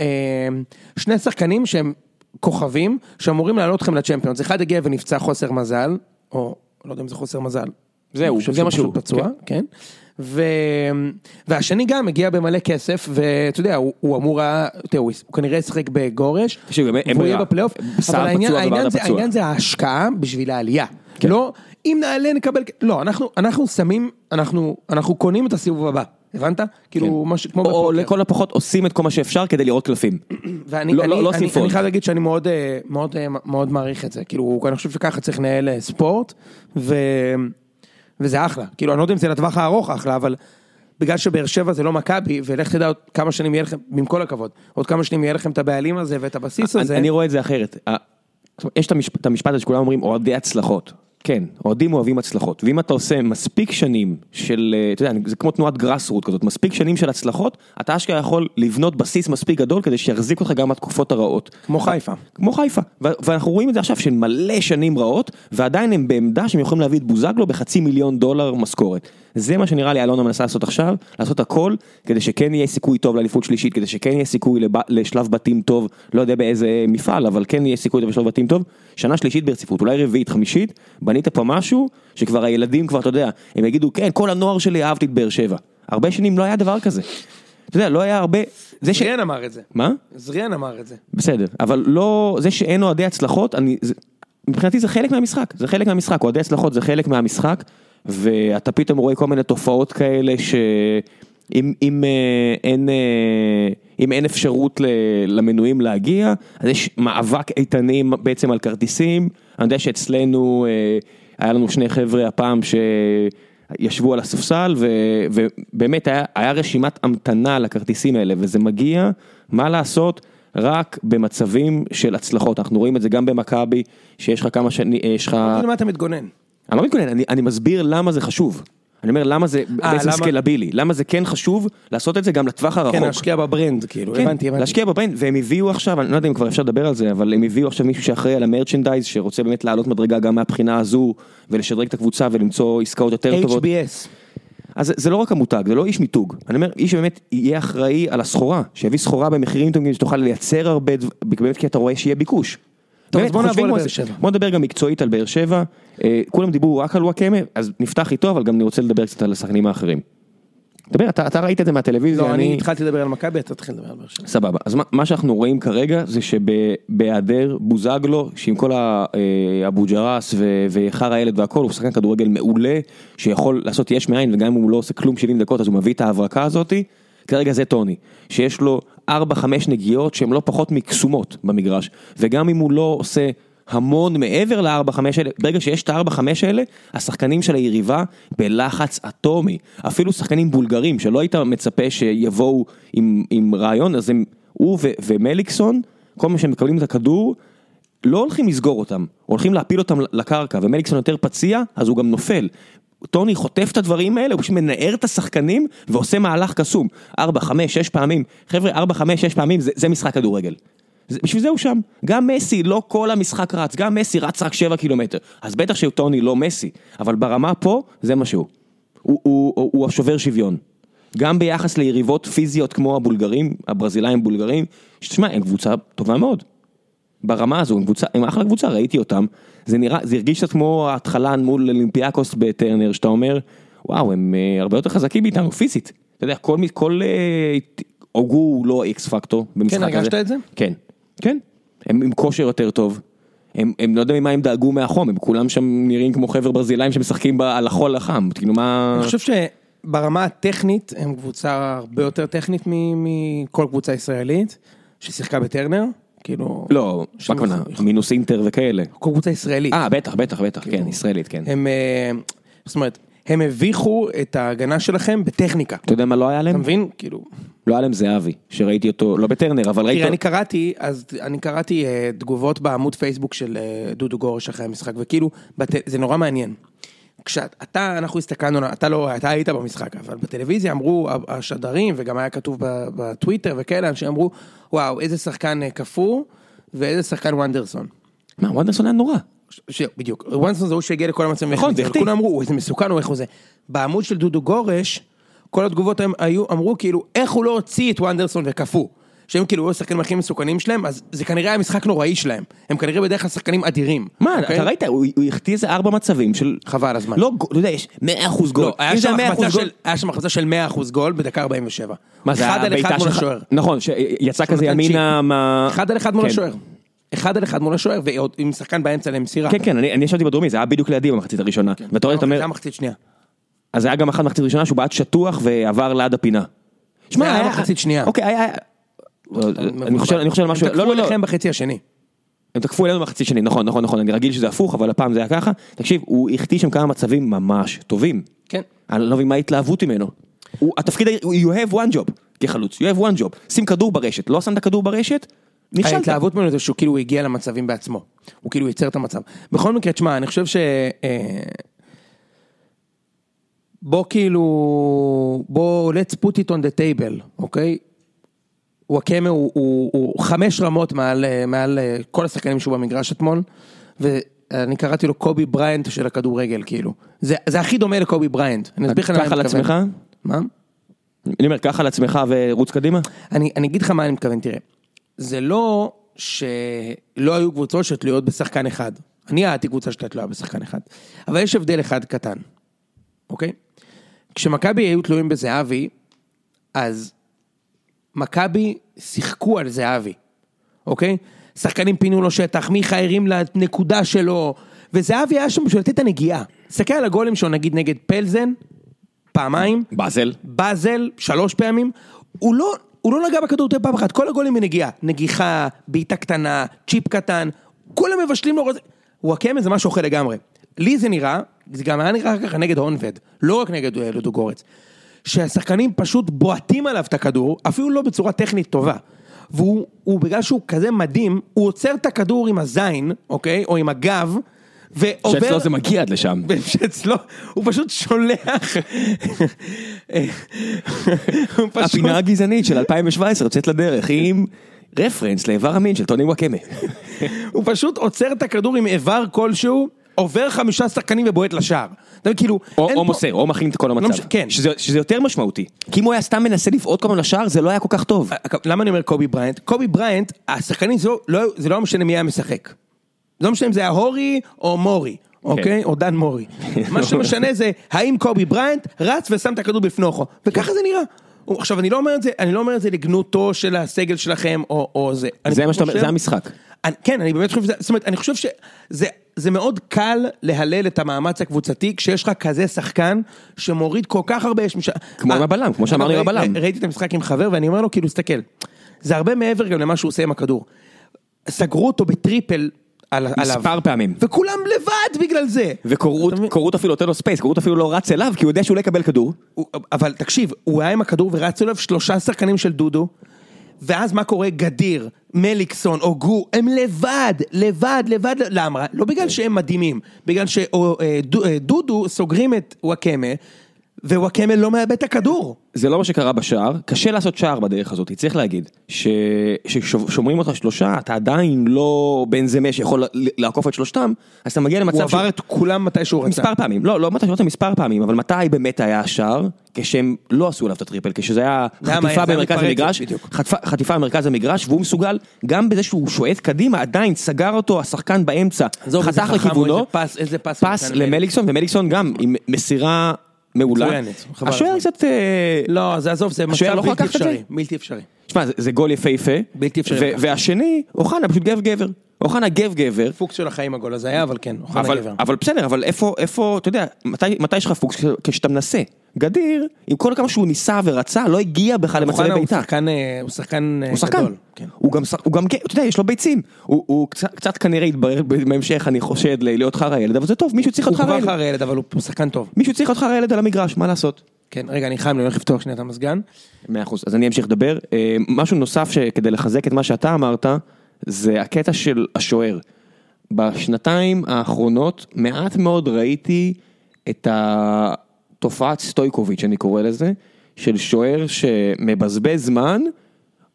A: שני שחקנים שהם כוכבים, שאמורים לעלות אתכם לצ'מפיונס. אחד הגיע ונפצע חוסר מזל, או לא יודע אם זה חוסר מזל.
B: זהו,
A: אני חושב
B: זה
A: שהוא
B: מה שהוא,
A: פשוט פצוע, כן. ו... והשני גם הגיע במלא כסף, ואתה יודע, הוא, הוא אמור היה, תראה, הוא, הוא כנראה ישחק בגורש,
B: תקשיב, גם אין
A: והוא
B: ברירה.
A: יהיה בפלייאוף,
B: סער
A: אבל העניין,
B: פצוע
A: העניין,
B: וברדה
A: זה,
B: פצוע. כן.
A: העניין זה ההשקעה בשביל העלייה. לא, אם נעלה נקבל, כ- לא, אנחנו, אנחנו שמים, אנחנו, אנחנו קונים את הסיבוב הבא, הבנת? כאילו, משהו כמו
B: כן. או
A: בפוקר.
B: לכל הפחות עושים את כל מה שאפשר כדי לראות קלפים.
A: ואני
B: לא-
A: אני,
B: לא- לא
A: אני,
B: סיפון.
A: אני חייב להגיד שאני מאוד, אה, מאוד, אה, מאוד מעריך את זה, כאילו אני חושב שככה צריך לנהל אה, ספורט, ו... וזה אחלה, כאילו אני לא יודע אם זה לטווח הארוך אחלה, אבל בגלל שבאר שבע זה לא מכבי, ולך תדע עוד כמה שנים יהיה לכם, עם כל הכבוד, עוד כמה שנים יהיה לכם את הבעלים הזה ואת הבסיס
B: אני-
A: הזה,
B: אני רואה את זה אחרת. ה- זאת אומרת, יש את המשפ- את המשפט הזה שכולם אומרים אוהדי הצלחות. כן, אוהדים אוהבים הצלחות. ואם אתה עושה מספיק שנים של, אה, אתה יודע, אני- זה כמו תנועת גראס רוט כזאת, מספיק שנים של הצלחות, אתה אשכרה יכול לבנות בסיס מספיק גדול כדי שיחזיק אותך גם בתקופות הרעות.
A: כמו חיפה.
B: כמו חיפה. ו- ואנחנו רואים את זה עכשיו של מלא שנים רעות, ועדיין הם בעמדה שהם יכולים להביא את בוזגלו בחצי מיליון דולר משכורת. זה מה שנראה לי אלונה מנסה לעשות עכשיו, לעשות הכל כדי שכן יהיה סיכוי טוב לאליפות שלישית, כדי שכן יהיה סיכוי לב... לשלב בתים טוב, לא יודע באיזה מפעל, אבל כן יהיה סיכוי טוב לשלב בתים טוב. שנה שלישית ברציפות, אולי רביעית, חמישית, בנית פה משהו שכבר הילדים כבר, אתה יודע, הם יגידו, כן, כל הנוער שלי אהבתי את באר שבע. הרבה שנים לא היה דבר כזה. אתה יודע, לא היה הרבה... זה ש...
A: זריאן אמר את זה,
B: מה?
A: זריאן אמר את זה.
B: בסדר, אבל לא, זה שאין אוהדי הצלחות, אני, זה, מבחינתי זה חלק מהמשחק, זה חלק מהמשחק, אוהדי הצלחות זה חלק מהמשחק, ואתה פתאום רואה כל מיני תופעות כאלה שאם אם, אה, אין, אה, אם אין אפשרות ל, למנויים להגיע, אז יש מאבק איתנים בעצם על כרטיסים, אני יודע שאצלנו אה, היה לנו שני חבר'ה הפעם ש... ישבו על הספסל ו, ובאמת היה, היה רשימת המתנה לכרטיסים האלה וזה מגיע, מה לעשות, רק במצבים של הצלחות, אנחנו רואים את זה גם במכבי, שיש לך כמה שנים, יש לך,
A: כאילו מה אתה מתגונן?
B: אני לא מתכונן, אני, אני מסביר למה זה חשוב. אני אומר למה זה בעצם
A: אה, למה-
B: סקלבילי, למה זה כן חשוב לעשות את זה גם לטווח הרחוק.
A: כן, להשקיע בברנד, כאילו,
B: אוקיי. כן,
A: הבנתי, הבנתי.
B: להשקיע בברנד, והם הביאו עכשיו, אני לא יודע אם כבר אפשר לדבר על זה, אבל הם הביאו עכשיו מישהו שאחראי על המרצ'נדייז, שרוצה באמת לעלות מדרגה גם מהבחינה הזו, ולשדרג את הקבוצה ולמצוא עסקאות יותר טובות.
A: HBS.
B: אז זה- זה לא רק המותג, זה לא איש מיתוג. אני אומר, איש שבאמת יהיה אחראי על הסחורה, שיביא סחורה במחירים טובים, שתוכל לייצר הרבה, דב- באמת כי אתה רואה שיהיה ביקוש.
A: טוב, אז
B: באמת,
A: בוא נעבור
B: חושבים
A: לבאר
B: על זה.
A: שבע.
B: בוא נדבר גם מקצועית על באר שבע. אה, כולם דיברו רק על וואקמה, אז נפתח איתו, אבל גם אני רוצה לדבר קצת על השחקנים האחרים. דבר, אתה, אתה ראית את זה מהטלוויזיה,
A: לא, אני התחלתי לדבר על מכבי, אתה תתחיל לדבר על באר שבע.
B: סבבה, אז מה, מה שאנחנו רואים כרגע זה שבהיעדר בוזגלו, שעם כל ה- אה, אבו ג'רס ו- וחרא הילד והכל, הוא שחקן כדורגל מעולה, שיכול לעשות יש מאין, וגם אם הוא לא עושה כלום 70 דקות אז הוא מביא את ההברקה הזאתי, כרגע זה טוני, שיש לו 4-5 נגיעות שהן לא פחות מקסומות במגרש, וגם אם הוא לא עושה... המון מעבר ל-4-5 האלה, ברגע שיש את ה-4-5 האלה, השחקנים של היריבה בלחץ אטומי. אפילו שחקנים בולגרים, שלא היית מצפה שיבואו עם, עם רעיון, אז הם, הוא ו- ומליקסון, כל מה שהם מקבלים את הכדור, לא הולכים לסגור אותם, הולכים להפיל אותם לקרקע, ומליקסון יותר פציע, אז הוא גם נופל. טוני חוטף את הדברים האלה, הוא פשוט מנער את השחקנים ועושה מהלך קסום. 4, 5, 6 פעמים. חבר'ה, 4, 5, 6 פעמים זה, זה משחק כדורגל. זה, בשביל זה הוא שם. גם מסי, לא כל המשחק רץ, גם מסי רץ רק 7 קילומטר. אז בטח שטוני לא מסי, אבל ברמה פה, זה מה שהוא. הוא, הוא, הוא, הוא השובר שוויון. גם ביחס ליריבות פיזיות כמו הבולגרים, הברזילאים בולגרים, שתשמע, הם קבוצה טובה מאוד. ברמה הזו, הם, קבוצה, הם אחלה קבוצה, ראיתי אותם. זה נראה, זה הרגיש קצת כמו ההתחלה מול אולימפיאקוס בטרנר, שאתה אומר, וואו, הם אה, הרבה יותר חזקים מאיתנו פיזית. אתה יודע, כל, מי- כל אה, ת- הוגו הוא לא אקס פקטור במשחק הזה.
A: הרגשת את זה?
B: כן, כן. הם עם כושר יותר טוב. הם, הם לא יודע ממה הם דאגו מהחום, הם כולם שם נראים כמו חבר ברזילאים שמשחקים ב- על החול החם, כאילו מה...
A: אני חושב ברמה הטכנית, הם קבוצה הרבה יותר טכנית מ- מכל קבוצה ישראלית, ששיחקה בטרנר, כאילו...
B: לא, מה הכוונה? מינוס אינטר וכאלה.
A: כל קבוצה ישראלית.
B: אה, בטח, בטח, בטח, כן, ישראלית, כן.
A: הם, כאילו- אה, זאת אומרת, הם הביכו את ההגנה שלכם בטכניקה.
B: אתה יודע מה לא היה
A: אתה
B: להם?
A: מבין? כאילו...
B: לא היה להם זהבי, שראיתי אותו, לא בטרנר, אבל ראיתי...
A: תראה, אני קראתי, אז אני קראתי אה, תגובות בעמוד פייסבוק של אה, דודו גורש אחרי המשחק, וכאילו, בט- זה נורא מעניין. כשאתה, אנחנו הסתכלנו, אתה לא, אתה היית במשחק, אבל בטלוויזיה אמרו השדרים, וגם היה כתוב ב- בטוויטר וכאלה, אנשים אמרו, וואו, איזה שחקן אה, קפוא, ואיזה שחקן וונדרסון.
B: מה, וונדרסון היה נורא.
A: ש... בדיוק, וואנסון זה הוא שהגיע לכל המצבים.
B: נכון,
A: והחמיץ,
B: זה
A: אבל
B: החטיא.
A: כולם אמרו, "הוא, איזה מסוכן הוא, איך הוא זה. בעמוד של דודו גורש, כל התגובות הם היו, אמרו כאילו, איך הוא לא הוציא את וונדרסון וקפוא. שהם כאילו היו השחקנים הכי מסוכנים שלהם, אז זה כנראה היה משחק נוראי שלהם. הם כנראה בדרך כלל שחקנים אדירים.
B: מה,
A: אוקיי?
B: אתה ראית, הוא הוא החטיא איזה ארבע מצבים של...
A: חבל הזמן.
B: לא, גול, אתה יודע, יש 100% גול.
A: לא, היה
B: אם זה
A: שם
B: 100%
A: החמצה
B: גול-
A: של- היה שם החמצה של 100% גול בדקה 47.
B: מה זה,
A: אחד על אחד
B: הבעיטה
A: מול
B: שלך-
A: השוער.
B: נכון, שיצא כזה
A: נתן
B: ימינה
A: צ'יפ.
B: מה...
A: אחד על אחד מול
B: כן.
A: השוער. אחד על אחד מול השוער, ועוד עם שחקן באמצע למסירה.
B: כן, כן, אני אני ישבתי בדרומי, זה היה בדיוק לידי במחצית הראשונה.
A: כן.
B: ואתה רואה, אתה אומר,
A: זה המחצית שנייה.
B: אז היה גם אחת מחצית ראשונה שהוא בעט שטוח ועבר ליד הפינה.
A: היה מחצית שנייה.
B: אוקיי, היה... היה- אני חושב אני חושב על משהו...
A: הם
B: לא,
A: תקפו
B: לא, לא.
A: אליכם בחצי השני.
B: הם תקפו אלינו מחצית שני, נכון, נכון, נכון, אני רגיל שזה הפוך, אבל הפעם זה היה ככה. תקשיב, הוא החטיא שם כמה מצבים ממש טובים.
A: כן.
B: אני לא מבין מה ההתלהבות ממנו. הוא, התפקיד, ה- הוא- you have one job, כחלוץ, you have one job. שים כדור ברשת, לא שמת כדור ברשת, נכשלת.
A: ההתלהבות ממנו זה שהוא כאילו הגיע למצבים בעצמו. הוא כאילו ייצר את המצב. בכל מקרה, תשמע, אני חושב ש... אה, בוא כאילו... בוא, let's put it on the table, אוקיי? וואקמה הוא, הוא, הוא חמש רמות מעל, אה, מעל אה, כל השחקנים שהוא במגרש אתמול, ואני קראתי לו קובי בריינט של הכדורגל, כאילו. זה, זה הכי דומה לקובי בריינט. אני אסביר לך למה אני
B: קח על
A: מתכוון.
B: עצמך,
A: מה?
B: אני אומר, קח על עצמך ורוץ קדימה.
A: אני, אני אגיד לך מה אני מתכוון, תראה. זה לא שלא היו קבוצות שתלויות בשחקן אחד. אני הייתי קבוצה שהייתה תלויה בשחקן אחד. אבל יש הבדל אחד קטן, אוקיי? כשמכבי היו תלויים בזהבי, אז מכבי שיחקו על זהבי, אוקיי? שחקנים פינו לו שטח, מיכה הרים לנקודה שלו, וזהבי היה שם בשביל לתת את הנגיעה. תסתכל על הגולים שלו נגיד נגד פלזן, פעמיים,
B: באזל.
A: באזל שלוש פעמים, הוא לא, הוא לא נגע בכדור יותר פעם אחת, כל הגולים בנגיעה, נגיחה, בעיטה קטנה, צ'יפ קטן, כולם מבשלים לו, רוזה- וואקמה זה משהו אחר לגמרי. לי זה נראה, זה גם היה נראה ככה נגד הונבד, לא רק נגד אה, לודו גורץ, שהשחקנים פשוט בועטים עליו את הכדור, אפילו לא בצורה טכנית טובה. והוא, הוא, בגלל שהוא כזה מדהים, הוא עוצר את הכדור עם הזין, אוקיי? או עם הגב, ועובר...
B: שאצלו לא, זה מגיע עד לשם.
A: שאצלו, הוא פשוט שולח. הוא פשוט...
B: הפינה הגזענית של 2017 יוצאת לדרך עם רפרנס לאיבר המין של טוני וואקמה.
A: הוא פשוט עוצר את הכדור עם איבר כלשהו, עובר חמישה שחקנים ובועט לשער. אתה מבין, כאילו,
B: או
A: אין
B: או
A: פה-
B: מוסר, או מכין את כל המצב.
A: מש- כן.
B: שזה- שזה יותר משמעותי. כי אם הוא היה סתם מנסה לבעוט כל הזמן לשער, זה לא היה כל כך טוב.
A: למה אני אומר קובי בריינט? קובי בריינט, השחקנים שלו, לא, זה לא משנה מי היה משחק. זה לא משנה אם זה היה הורי או מורי,
B: כן.
A: אוקיי? או דן מורי. מה שמשנה זה האם קובי בריינט רץ ושם את הכדור בפנוכו. וככה זה נראה. הוא- עכשיו, אני לא אומר את זה, אני לא אומר את זה לגנותו של הסגל שלכם או, או זה. אני
B: זה מה שאתה אומר,
A: חושב-
B: זה המשחק.
A: אני, כן, אני באמת חושב שזה, זאת אומרת, אני חושב שזה זה מאוד קל להלל את המאמץ הקבוצתי כשיש לך כזה שחקן שמוריד כל כך הרבה... יש מש... אה,
B: כמו עם הבלם, כמו שאמרנו עם
A: אגב, ראי-
B: הבלם.
A: אה, ראיתי את המשחק עם חבר ואני אומר לו, כאילו, תסתכל, זה הרבה מעבר גם למה שהוא עושה עם הכדור. סגרו אותו בטריפל על, עליו.
B: מספר פעמים.
A: וכולם לבד בגלל זה.
B: וקורות
A: אתה מבין?
B: קורות אפילו נותן לו ספייס, קורות אפילו לא רץ אליו, כי הוא יודע שהוא לא יקבל כדור.
A: הוא- אבל תקשיב, הוא היה עם הכדור ורץ אליו שלושה שחקנים של דודו, ואז מה קורה? גדיר, מליקסון, הוגו, הם לבד, לבד, לבד, למה? לא בגלל שהם מדהימים, בגלל אה, שדודו סוגרים את וואקמה, ווואקמה לא מאבד את הכדור.
B: זה לא מה שקרה בשער, קשה לעשות שער בדרך הזאת, צריך להגיד. ש- ששומרים אותך שלושה, אתה עדיין לא בן זמה שיכול ל- לעקוף את שלושתם, אז אתה מגיע
A: הוא
B: למצב
A: עבר את כולם מתי שהוא רצה.
B: מספר פעמים, לא, לא מתי שאמרת מספר פעמים, אבל מתי באמת היה השער? כשהם לא עשו עליו את הטריפל, כשזה היה
A: היה
B: חטיפה
A: מהר, זה היה
B: במרכז
A: מתפרצת,
B: המגרש,
A: בדיוק.
B: חטפה- חטיפה במרכז המגרש, והוא מסוגל, גם בזה שהוא שועט קדימה, עדיין סגר אותו השחקן באמצע,
A: עזוב, איזה
B: חתך
A: חכם הוא,
B: לכיוונו,
A: איזה פס- איזה לא? פס הוא
B: פס
A: נתן
B: למליקסון, ומליקסון גם עם מסירה מעולה.
A: מצוינת, חבל
B: השוער
A: הזמן.
B: קצת... אה,
A: לא, אז עזוב, זה
B: השוער
A: מצב
B: לא יכול
A: בלתי
B: לקחת את זה?
A: אפשרי. בלתי אפשרי.
B: תשמע, זה, זה גול יפהפה.
A: בלתי אפשרי
B: ו-
A: לקחת.
B: והשני, אוחנה, פשוט גב גבר. אוחנה גב גבר,
A: פוקס של החיים הגול הזה היה, אבל כן, אוחנה
B: אבל,
A: גבר.
B: אבל בסדר, אבל איפה, איפה, אתה יודע, מתי, מתי יש לך פוקס? כש- כשאתה מנסה. גדיר, עם כל כמה שהוא ניסה ורצה, לא הגיע בכלל למצבי
A: אוחנה הוא
B: בעיטה.
A: שחקן, אה, הוא שחקן אה,
B: הוא שחקן,
A: גדול. כן.
B: הוא גם, שח- הוא גם, כן, אתה יודע, יש לו ביצים, הוא, הוא קצת, קצת כנראה יתברר בהמשך, אני חושד, ל- להיות חרא ילד, אבל זה טוב, מישהו צריך
A: הוא
B: להיות
A: כבר
B: חרא ילד,
A: חרא ילד, אבל הוא הוא שחקן טוב.
B: מישהו צריך להיות חרא ילד על המגרש, מה לעשות?
A: כן, רגע, אני חייב, אני הולך לפתוח שנייה את המזגן.
B: מאה אחוז, אז אני אמשיך לדבר. אה, משהו נוסף שכדי לחזק את מה שאתה אמרת, זה הקטע של השוער. בשנתיים האחרונות מעט מאוד ראיתי את התופעת סטויקוביץ', אני קורא לזה, של שוער שמבזבז זמן,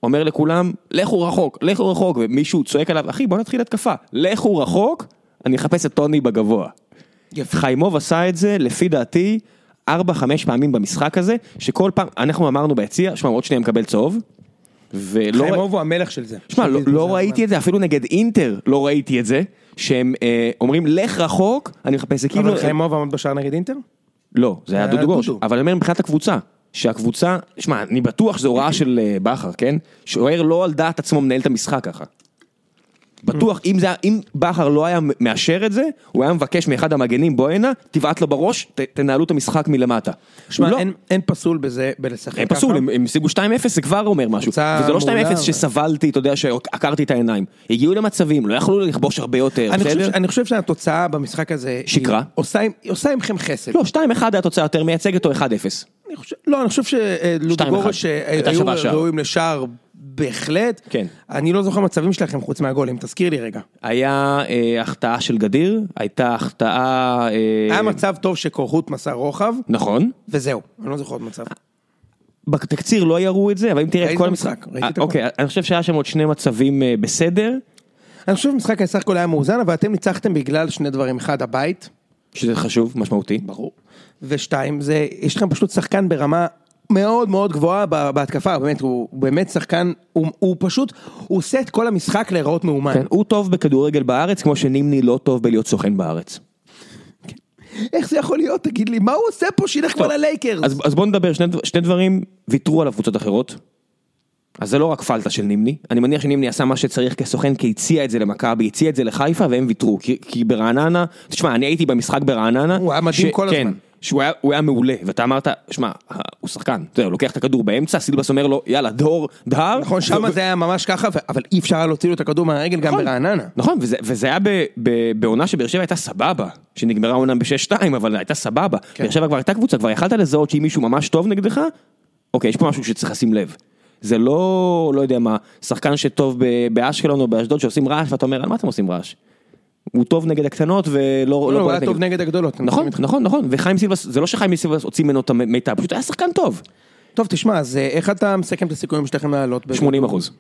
B: אומר לכולם, לכו רחוק, לכו רחוק, ומישהו צועק עליו, אחי בוא נתחיל התקפה, לכו רחוק, אני אחפש את טוני בגבוה.
A: יפה.
B: חיימוב עשה את זה, לפי דעתי, 4-5 פעמים במשחק הזה, שכל פעם, אנחנו אמרנו ביציע, שמע, עוד שנייה מקבל צהוב, ולא...
A: חיימוב הוא המלך של זה.
B: שמע, לא, לא ראיתי את זה, אפילו נגד אינטר לא ראיתי את זה, שהם אה, אומרים, לך רחוק, אני מחפש, זה כאילו...
A: אבל חיימוב עמד בשער נגד אינטר?
B: לא, זה היה
A: היה
B: דודו גוש,
A: אה, דודו.
B: אבל אני אומר מבחינת הקבוצה, שהקבוצה, שמע, אני בטוח שזו הוראה של אה, בכר, כן? שוער לא על דעת עצמו מנהל את המשחק ככה. בטוח, אם, זה, היה- אם בכר לא היה מאשר את זה, הוא היה מבקש מאחד המגנים, בוא הנה, תבעט לו בראש, ת, תנהלו את המשחק מלמטה.
A: שמע,
B: הוא לא,
A: אין- אין פסול בזה, בלשחק ככה.
B: הם פסול, הם הם השיגו 2-0, זה כבר אומר משהו.
A: קבוצה
B: וזה לא
A: מעולה,
B: 2-0
A: אבל-
B: שסבלתי, אתה יודע, שעקרתי את העיניים. הגיעו למצבים, לא יכלו לכבוש הרבה יותר,
A: אני חושב
B: בסדר?
A: ש- אני חושב שהתוצאה במשחק הזה... היא
B: שיקרה.
A: עושה עם- היא עושה עמכם חסד.
B: לא, 2-1 היה תוצאה יותר מייצגת או 1-0.
A: אני חושב- לא, אני חושב שלודוגורש אה,
B: הייתה
A: היו
B: שווה שער.
A: ראויים לשער בהחלט.
B: כן.
A: אני לא זוכר מצבים שלכם חוץ מהגולים, תזכיר לי רגע.
B: היה אה, החטאה של גדיר, הייתה החטאה... אה,
A: היה מצב טוב שקורחות מסר רוחב,
B: נכון.
A: וזהו, אני לא זוכר עוד מצב.
B: בתקציר לא יראו את זה, אבל אם תראה את
A: ראיתי
B: כל
A: את
B: המשחק.
A: המשחק, ראיתי
B: אה,
A: את הכל.
B: אוקיי, אני חושב שהיה שם עוד שני מצבים אה, בסדר,
A: אני חושב שהמשחק היה סך הכל היה מאוזן, אבל אתם ניצחתם בגלל שני דברים. אחד, הבית,
B: שזה חשוב, משמעותי.
A: ברור. ושתיים, זה, יש לכם פשוט שחקן ברמה מאוד מאוד גבוהה ב- בהתקפה, באמת, הוא הוא באמת שחקן, הוא, הוא פשוט, הוא עושה את כל המשחק להיראות מאומן.
B: כן, הוא טוב בכדורגל בארץ, כמו שנימני לא טוב בלהיות סוכן בארץ.
A: איך זה יכול להיות? תגיד לי, מה הוא עושה פה שילך כבר ללייקרס?
B: אז, אז בוא נדבר, שני, דבר- שני דברים ויתרו עליו קבוצות אחרות. אז זה לא רק פלטה של נימני, אני מניח שנימני עשה מה שצריך כסוכן, כי הציע את זה למכבי, הציע את זה לחיפה והם ויתרו, כי, כי ברעננה, תשמע, אני הייתי במשחק ברעננה,
A: הוא היה מדהים כל
B: כן,
A: הזמן.
B: שהוא היה, הוא היה מעולה, ואתה אמרת, שמע, ה- הוא שחקן, אתה יודע, הוא לוקח את הכדור באמצע, סילבס אומר לו, יאללה, דהור, דהר,
A: נכון, שם זה היה ממש ככה, ו- אבל אי אפשר היה להוציא לו את הכדור מהרגל גם
B: נכון.
A: ברעננה.
B: נכון, וזה, וזה היה ב- ב- בעונה שבאר שבע הייתה סבבה, שנגמרה עונה ב-6-2, אבל הייתה סבבה. כן. באר שבע כבר הייתה קבוצה, כבר יכלת לזהות שאם מישהו ממש טוב נגדך, אוקיי, יש פה משהו שצריך לשים לב. זה לא, לא יודע מה, שחקן שטוב ב- באשקלון או באשדוד שעושים רעש, ואתה אומר, על מה אתם עושים רעש? הוא טוב נגד הקטנות ולא...
A: לא, הוא
B: בועט
A: היה טוב נגד הגדולות. אני
B: נכון,
A: מסכים איתך.
B: נכון, נכון, וחיים סילבס, זה לא שחיים סילבס הוציא ממנו את המיטב, פשוט היה שחקן טוב.
A: טוב, תשמע, אז אה, איך אתה מסכם את הסיכויים שלכם לעלות? ב-
B: 80 אחוז.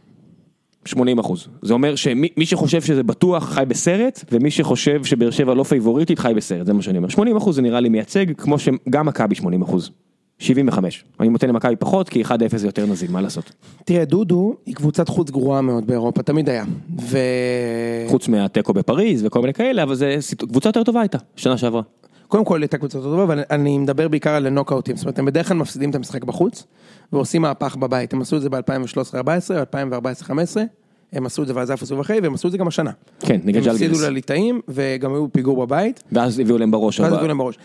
B: 80 אחוז. זה אומר שמי מי שחושב שזה בטוח חי בסרט, ומי שחושב שבאר שבע לא פייבוריטית חי בסרט, זה מה שאני אומר. 80 אחוז זה נראה לי מייצג, כמו שגם מכבי 80 אחוז. 75. אני נותן למכבי פחות, כי 1-0 זה יותר נזיל, מה לעשות?
A: תראה, דודו היא קבוצת חוץ גרועה מאוד באירופה, תמיד היה. ו...
B: חוץ מהתיקו בפריז וכל מיני כאלה, אבל זה סיט- קבוצה יותר טובה הייתה, שנה שעברה.
A: קודם כל הייתה קבוצה טובה, אבל אני מדבר בעיקר על נוקאוטים, זאת אומרת, הם בדרך כלל מפסידים את המשחק בחוץ, ועושים מהפך בבית, הם עשו את זה ב-2013-2014, 2014-2015, הם עשו את זה ואז עפו סיבוב אחרי, והם עשו את זה גם השנה.
B: כן, נגד
A: הם הפסידו
B: ג'לגרס.
A: לליטאים, וגם היו בפיגור בבית,
B: ואז הביאו להם בראש.
A: ואז
B: ארבעה.
A: הביאו להם בראש.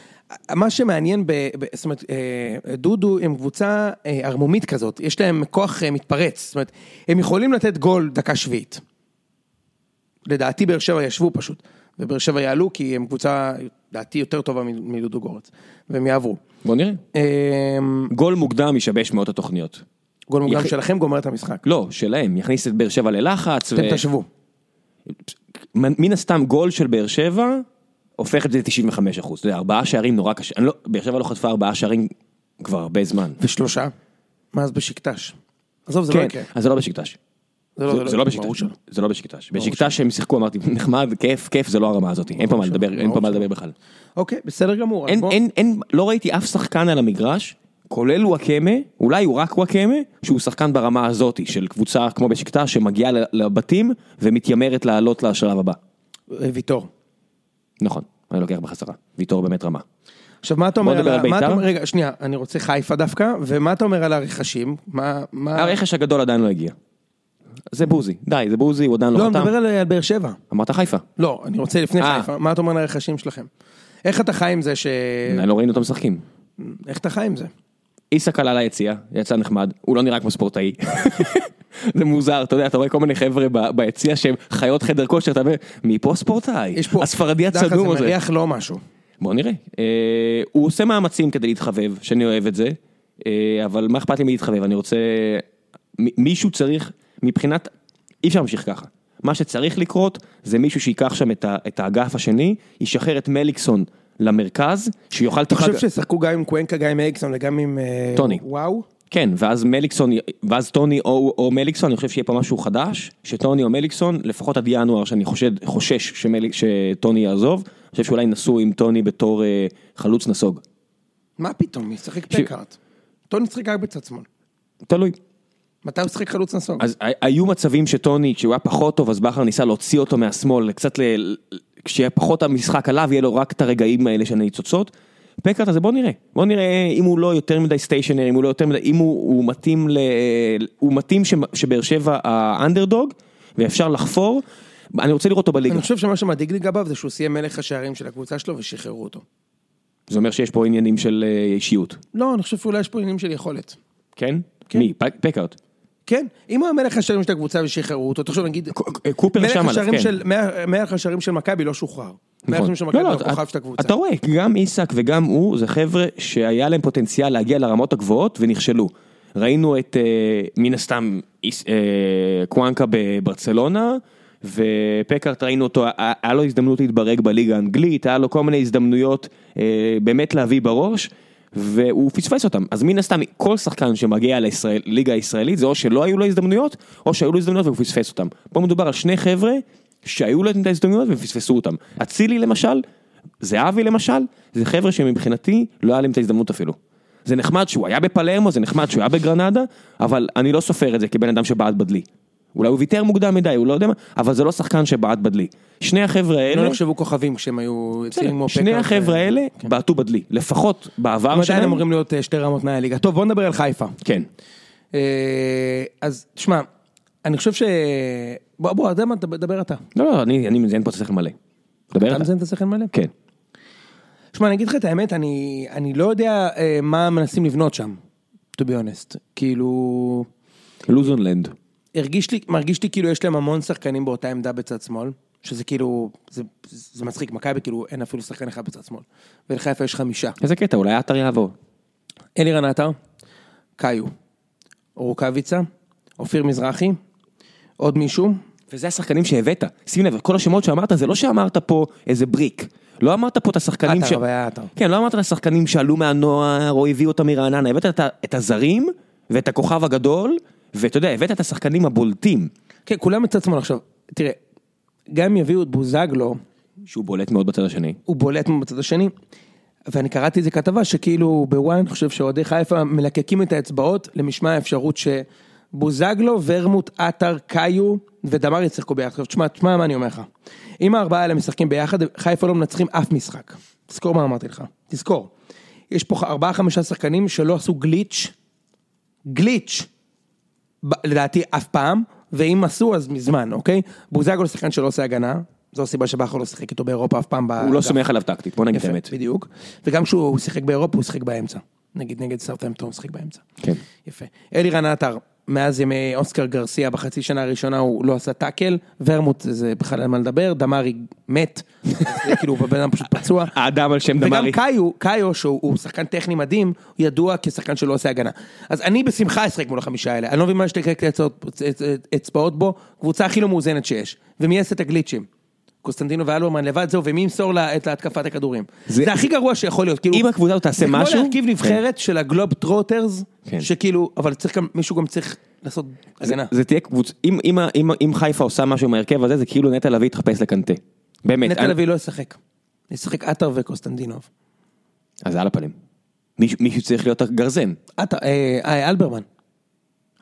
A: מה שמעניין, ב, ב, זאת אומרת, אה, דודו הם קבוצה אה, ערמומית כזאת, יש להם כוח אה, מתפרץ, זאת אומרת, הם יכולים לתת גול דקה שביעית. לדעתי באר שבע ישבו פשוט, ובאר שבע יעלו כי הם קבוצה, לדעתי, יותר טובה מ- מדודו גורץ, והם יעברו.
B: בוא נראה.
A: אה,
B: גול מוקדם ישבש מאוד התוכניות.
A: גול מוקדם
B: יחי-
A: שלכם גומר את המשחק.
B: לא, שלהם, יכניס את באר שבע ללחץ.
A: אתם
B: ו-
A: תשבו.
B: מן מן הסתם גול של באר שבע הופך את זה ל-95 אחוז. אתה יודע, ארבעה שערים נורא קשה. אני לא, באר שבע לא חטפה ארבעה שערים כבר הרבה זמן.
A: ושלושה? מה אז בשקטש? עזוב, זה לא
B: כן,
A: יקרה.
B: אז זה לא בשקטש.
A: זה
B: זה לא
A: ברור
B: בשקטש.
A: שלא.
B: זה לא בשקטש. בשקטש שהם שיחקו אמרתי (laughs) נחמד, כיף, כיף, זה לא הרמה הזאת. אין פה מה
A: שלא,
B: לדבר, אין
A: ברור
B: פה מה
A: שלא.
B: לדבר בכלל.
A: אוקיי, בסדר גמור. אז
B: אין,
A: בוא-
B: אין, אין, לא ראיתי אף שחקן על המגרש, כולל וואקמה, אולי הוא רק וואקמה, שהוא שחקן ברמה הזאת של קבוצה כמו בשקטש שמגיעה ל- לבתים ומתיימרת לעלות לשלב הבא.
A: אה, ויטור.
B: נכון, אני לוקח בחזרה. ויטור באמת רמה.
A: עכשיו מה אתה אומר
B: בוא
A: על
B: נדבר
A: ה-
B: על
A: מה אתה
B: בית"ר?
A: אומר- רגע, שנייה, אני רוצה חיפה דווקא, ומה אתה אומר על הרכשים? מה, מה,
B: הרכש הגדול עדיין לא הגיע. זה בוזי, די, זה בוזי, הוא עדיין
A: לא,
B: לא
A: אני
B: חתם.
A: מדבר על על באר שבע.
B: אמרת חיפה.
A: לא, אני רוצה לפני
B: אה.
A: חיפה, מה אתה אומר על הרכשים שלכם? איך אתה חי עם זה ש...
B: עדיין לא ראינו אותם משחקים.
A: איך אתה חי עם זה?
B: איסק עלה ליציאה, יצא נחמד, הוא לא נראה כמו ספורטאי. (laughs) זה מוזר, אתה יודע, אתה רואה כל מיני חבר'ה ב- ביציע שהם חיות חדר כושר, אתה אומר, מי פה הספורטאי?
A: יש פה...
B: הספרדי
A: דרך אגב,
B: הצדום
A: זה
B: הזה.
A: מריח לא משהו.
B: בוא נראה. אה, הוא עושה מאמצים כדי להתחבב, שאני אוהב את זה, אה, אבל מה אכפת לי מלהתחבב? אני רוצה... מ- מישהו צריך, מבחינת... אי אפשר להמשיך ככה. מה שצריך לקרות, זה מישהו שייקח שם את, ה... את האגף השני, ישחרר את מליקסון למרכז, שיוכל...
A: אתה חושב שישחקו גם עם קוונקה, גם עם אריקסון וגם עם... אה,
B: טוני.
A: וואו?
B: כן, ואז מליקסון, ואז טוני או, או מליקסון, אני חושב שיהיה פה משהו חדש, שטוני או מליקסון, לפחות עד ינואר, שאני חושד, חושש שמליק, שטוני יעזוב, אני חושב שאולי נסעו עם טוני בתור אה, חלוץ נסוג.
A: מה פתאום, ישחק
B: ש-
A: פקארט. טוני ישחק רק בצד שמאל.
B: תלוי.
A: מתי הוא ישחק חלוץ נסוג?
B: אז ה- היו מצבים שטוני, כשהוא היה פחות טוב, אז בכר ניסה להוציא אותו מהשמאל, קצת ל... כשיהיה פחות המשחק עליו, יהיה לו רק את הרגעים האלה של הניצוצות. פקארט הזה בוא נראה, בוא נראה אם הוא לא יותר מדי סטיישנר, אם הוא לא יותר מדי, אם הוא, הוא מתאים, ל, הוא מתאים ש, שבאר שבע האנדרדוג, ואפשר לחפור, אני רוצה לראות אותו בליגה,
A: אני חושב שמה שמדאיג לי לגביו זה שהוא סיים מלך השערים של הקבוצה שלו ושחררו אותו.
B: זה אומר שיש פה עניינים של אה, אישיות,
A: לא, אני חושב שאולי יש פה עניינים של יכולת.
B: כן?
A: כן.
B: מי? פ- פקארט.
A: כן, אם הוא היה מלך השערים של הקבוצה ושחררו אותו, תחשוב נגיד,
B: ק- קופר
A: אה, מלך
B: שם עליו,
A: השערים
B: כן.
A: של- מלך- מלך השערים של מכבי לא שוחרר. מלך
B: נכון.
A: השערים של מכבי
B: לא,
A: הוא
B: לא,
A: הכוכב
B: אתה-
A: של הקבוצה.
B: אתה רואה, גם איסק וגם הוא, זה חבר'ה שהיה להם פוטנציאל להגיע לרמות הגבוהות ונכשלו. ראינו את, אה, מן הסתם, איס- אה, קוואנקה בברצלונה, ופקארט ראינו אותו, היה- היה לו הזדמנות להתברג בליגה האנגלית, היה לו כל מיני הזדמנויות אה, באמת להביא בראש. והוא פספס אותם, אז מן הסתם כל שחקן שמגיע לישראל- ליגה הישראלית זה או שלא היו לו הזדמנויות, או שהיו לו הזדמנויות והוא פספס אותם. פה מדובר על שני חבר'ה שהיו להם את ההזדמנויות ופספסו אותם. אצילי למשל, זהבי למשל, זה חבר'ה שמבחינתי לא היה להם את ההזדמנות אפילו. זה נחמד שהוא היה בפלרמו, זה נחמד שהוא היה בגרנדה, אבל אני לא סופר את זה כבן אדם שבעט בדלי. אולי הוא ויתר מוקדם מדי, הוא לא יודע מה, אבל זה לא שחקן שבעט בדלי. שני החבר'ה
A: לא
B: האלה,
A: נחשבו כוכבים כשהם היו
B: בסדר,
A: יוצאים כמו
B: שני
A: פקארט,
B: החבר'ה
A: אה,
B: האלה בעטו בדלי, לפחות
A: הם
B: בעבר
A: עדיין
B: שלהם.
A: אמורים להיות אה, שתי רמות תנאי הליגה. טוב, בוא נדבר על חיפה.
B: כן.
A: אה, אז תשמע, אני חושב ש... בוא, בוא, אתה יודע מה, דבר- דבר אתה.
B: לא, לא, אני אני מזיין פה את השכל מלא. דבר
A: אתה
B: אתה.
A: מזיין את השכל מלא?
B: כן.
A: שמע, אני אגיד לך את האמת, אני, אני לא יודע אה, מה מנסים לבנות שם, to be honest. כאילו,
B: לוזונלנד.
A: הרגיש לי, מרגיש לי כאילו יש להם המון שחקנים באותה עמדה בצד שמאל, שזה כאילו, זה, זה מצחיק, מכבי כאילו אין אפילו שחקן אחד בצד שמאל. ולחיפה יש חמישה.
B: איזה קטע, אולי עטר יעבור.
A: אלירן עטר, קאיו, רוקאביצה, אופיר מזרחי, עוד מישהו,
B: וזה השחקנים שהבאת. שים לב, כל השמות שאמרת, זה לא שאמרת פה איזה בריק. לא אמרת פה את השחקנים
A: עטר, אבל היה עטר.
B: כן, לא אמרת את השחקנים שעלו מהנוער או הביאו אותם מרעננה, הבאת את, ה- את הזרים ואת הכוכב הגדול, ואתה יודע, הבאת את השחקנים הבולטים,
A: כן, כולם מצד שמאל עכשיו. תראה, גם אם יביאו את בוזגלו,
B: שהוא בולט מאוד בצד השני.
A: הוא בולט בצד השני. ואני קראתי איזה כתבה שכאילו בוואן, אני חושב שאוהדי חיפה מלקקים את האצבעות למשמע האפשרות שבוזגלו, ורמוט, עטר, קאיו ודמר ישחקו ביחד. עכשיו תשמע, תשמע מה אני אומר לך. אם הארבעה האלה משחקים ביחד, חיפה לא מנצחים אף משחק. תזכור מה אמרתי לך, תזכור. יש פה ארבעה חמישה שחקנים שלא עשו גליץ', גליץ', ב- לדעתי אף פעם, ואם עשו אז מזמן, אוקיי? בוזגלו שחקן שלא עושה הגנה, זו הסיבה שבכר לא שיחק איתו באירופה אף פעם.
B: הוא לא סומך עליו טקטית, בוא נגיד את
A: יפה,
B: האמת.
A: בדיוק. וגם כשהוא שיחק באירופה, הוא שיחק באמצע. נגיד נגד סרטמפטון, הוא שיחק באמצע.
B: כן.
A: יפה. אלירן עטר, מאז ימי אוסקר גרסיה, בחצי שנה הראשונה הוא לא עשה טאקל, ורמוט זה בכלל אין מה לדבר, דמרי מת, (laughs) אז זה כאילו הוא בן אדם פשוט פצוע.
B: האדם על שם
A: וגם
B: דמרי.
A: קאיו, קאיו שהוא הוא שחקן טכני מדהים, הוא ידוע כשחקן שלא עושה הגנה. אז אני בשמחה אשחק מול החמישה האלה, אני לא מבין מה יש לקרק אצבעות בו, קבוצה הכי לא מאוזנת שיש. ומי יעשה את הגליצ'ים? קוסטנטינו ואלברמן לבד זהו, ומי ימסור לה את להתקפת הכדורים?
B: זה-
A: זה, הכי גרוע שיכול להיות, כאילו...
B: אם הקבוצה הזאת תעשה
A: זה
B: משהו-
A: כמו להרכיב נבחרת של הגלוב טרוטרס,
B: כן.
A: שכאילו, אבל צריך גם, מישהו גם צריך לעשות
B: זה-
A: הגנה.
B: זה תהיה קבוצה, אם- אם ה- אם- אם חיפה עושה משהו עם ההרכב הזה, זה כאילו נטע לביא יתחפש לקנטה. באמת.
A: נטע
B: אני-
A: לביא לא ישחק. ישחק עטר וקוסטנטינוב.
B: אז זה על הפנים. מישהו- מישהו צריך להיות הגרזן.
A: עטר, אה, אה, אלברמן.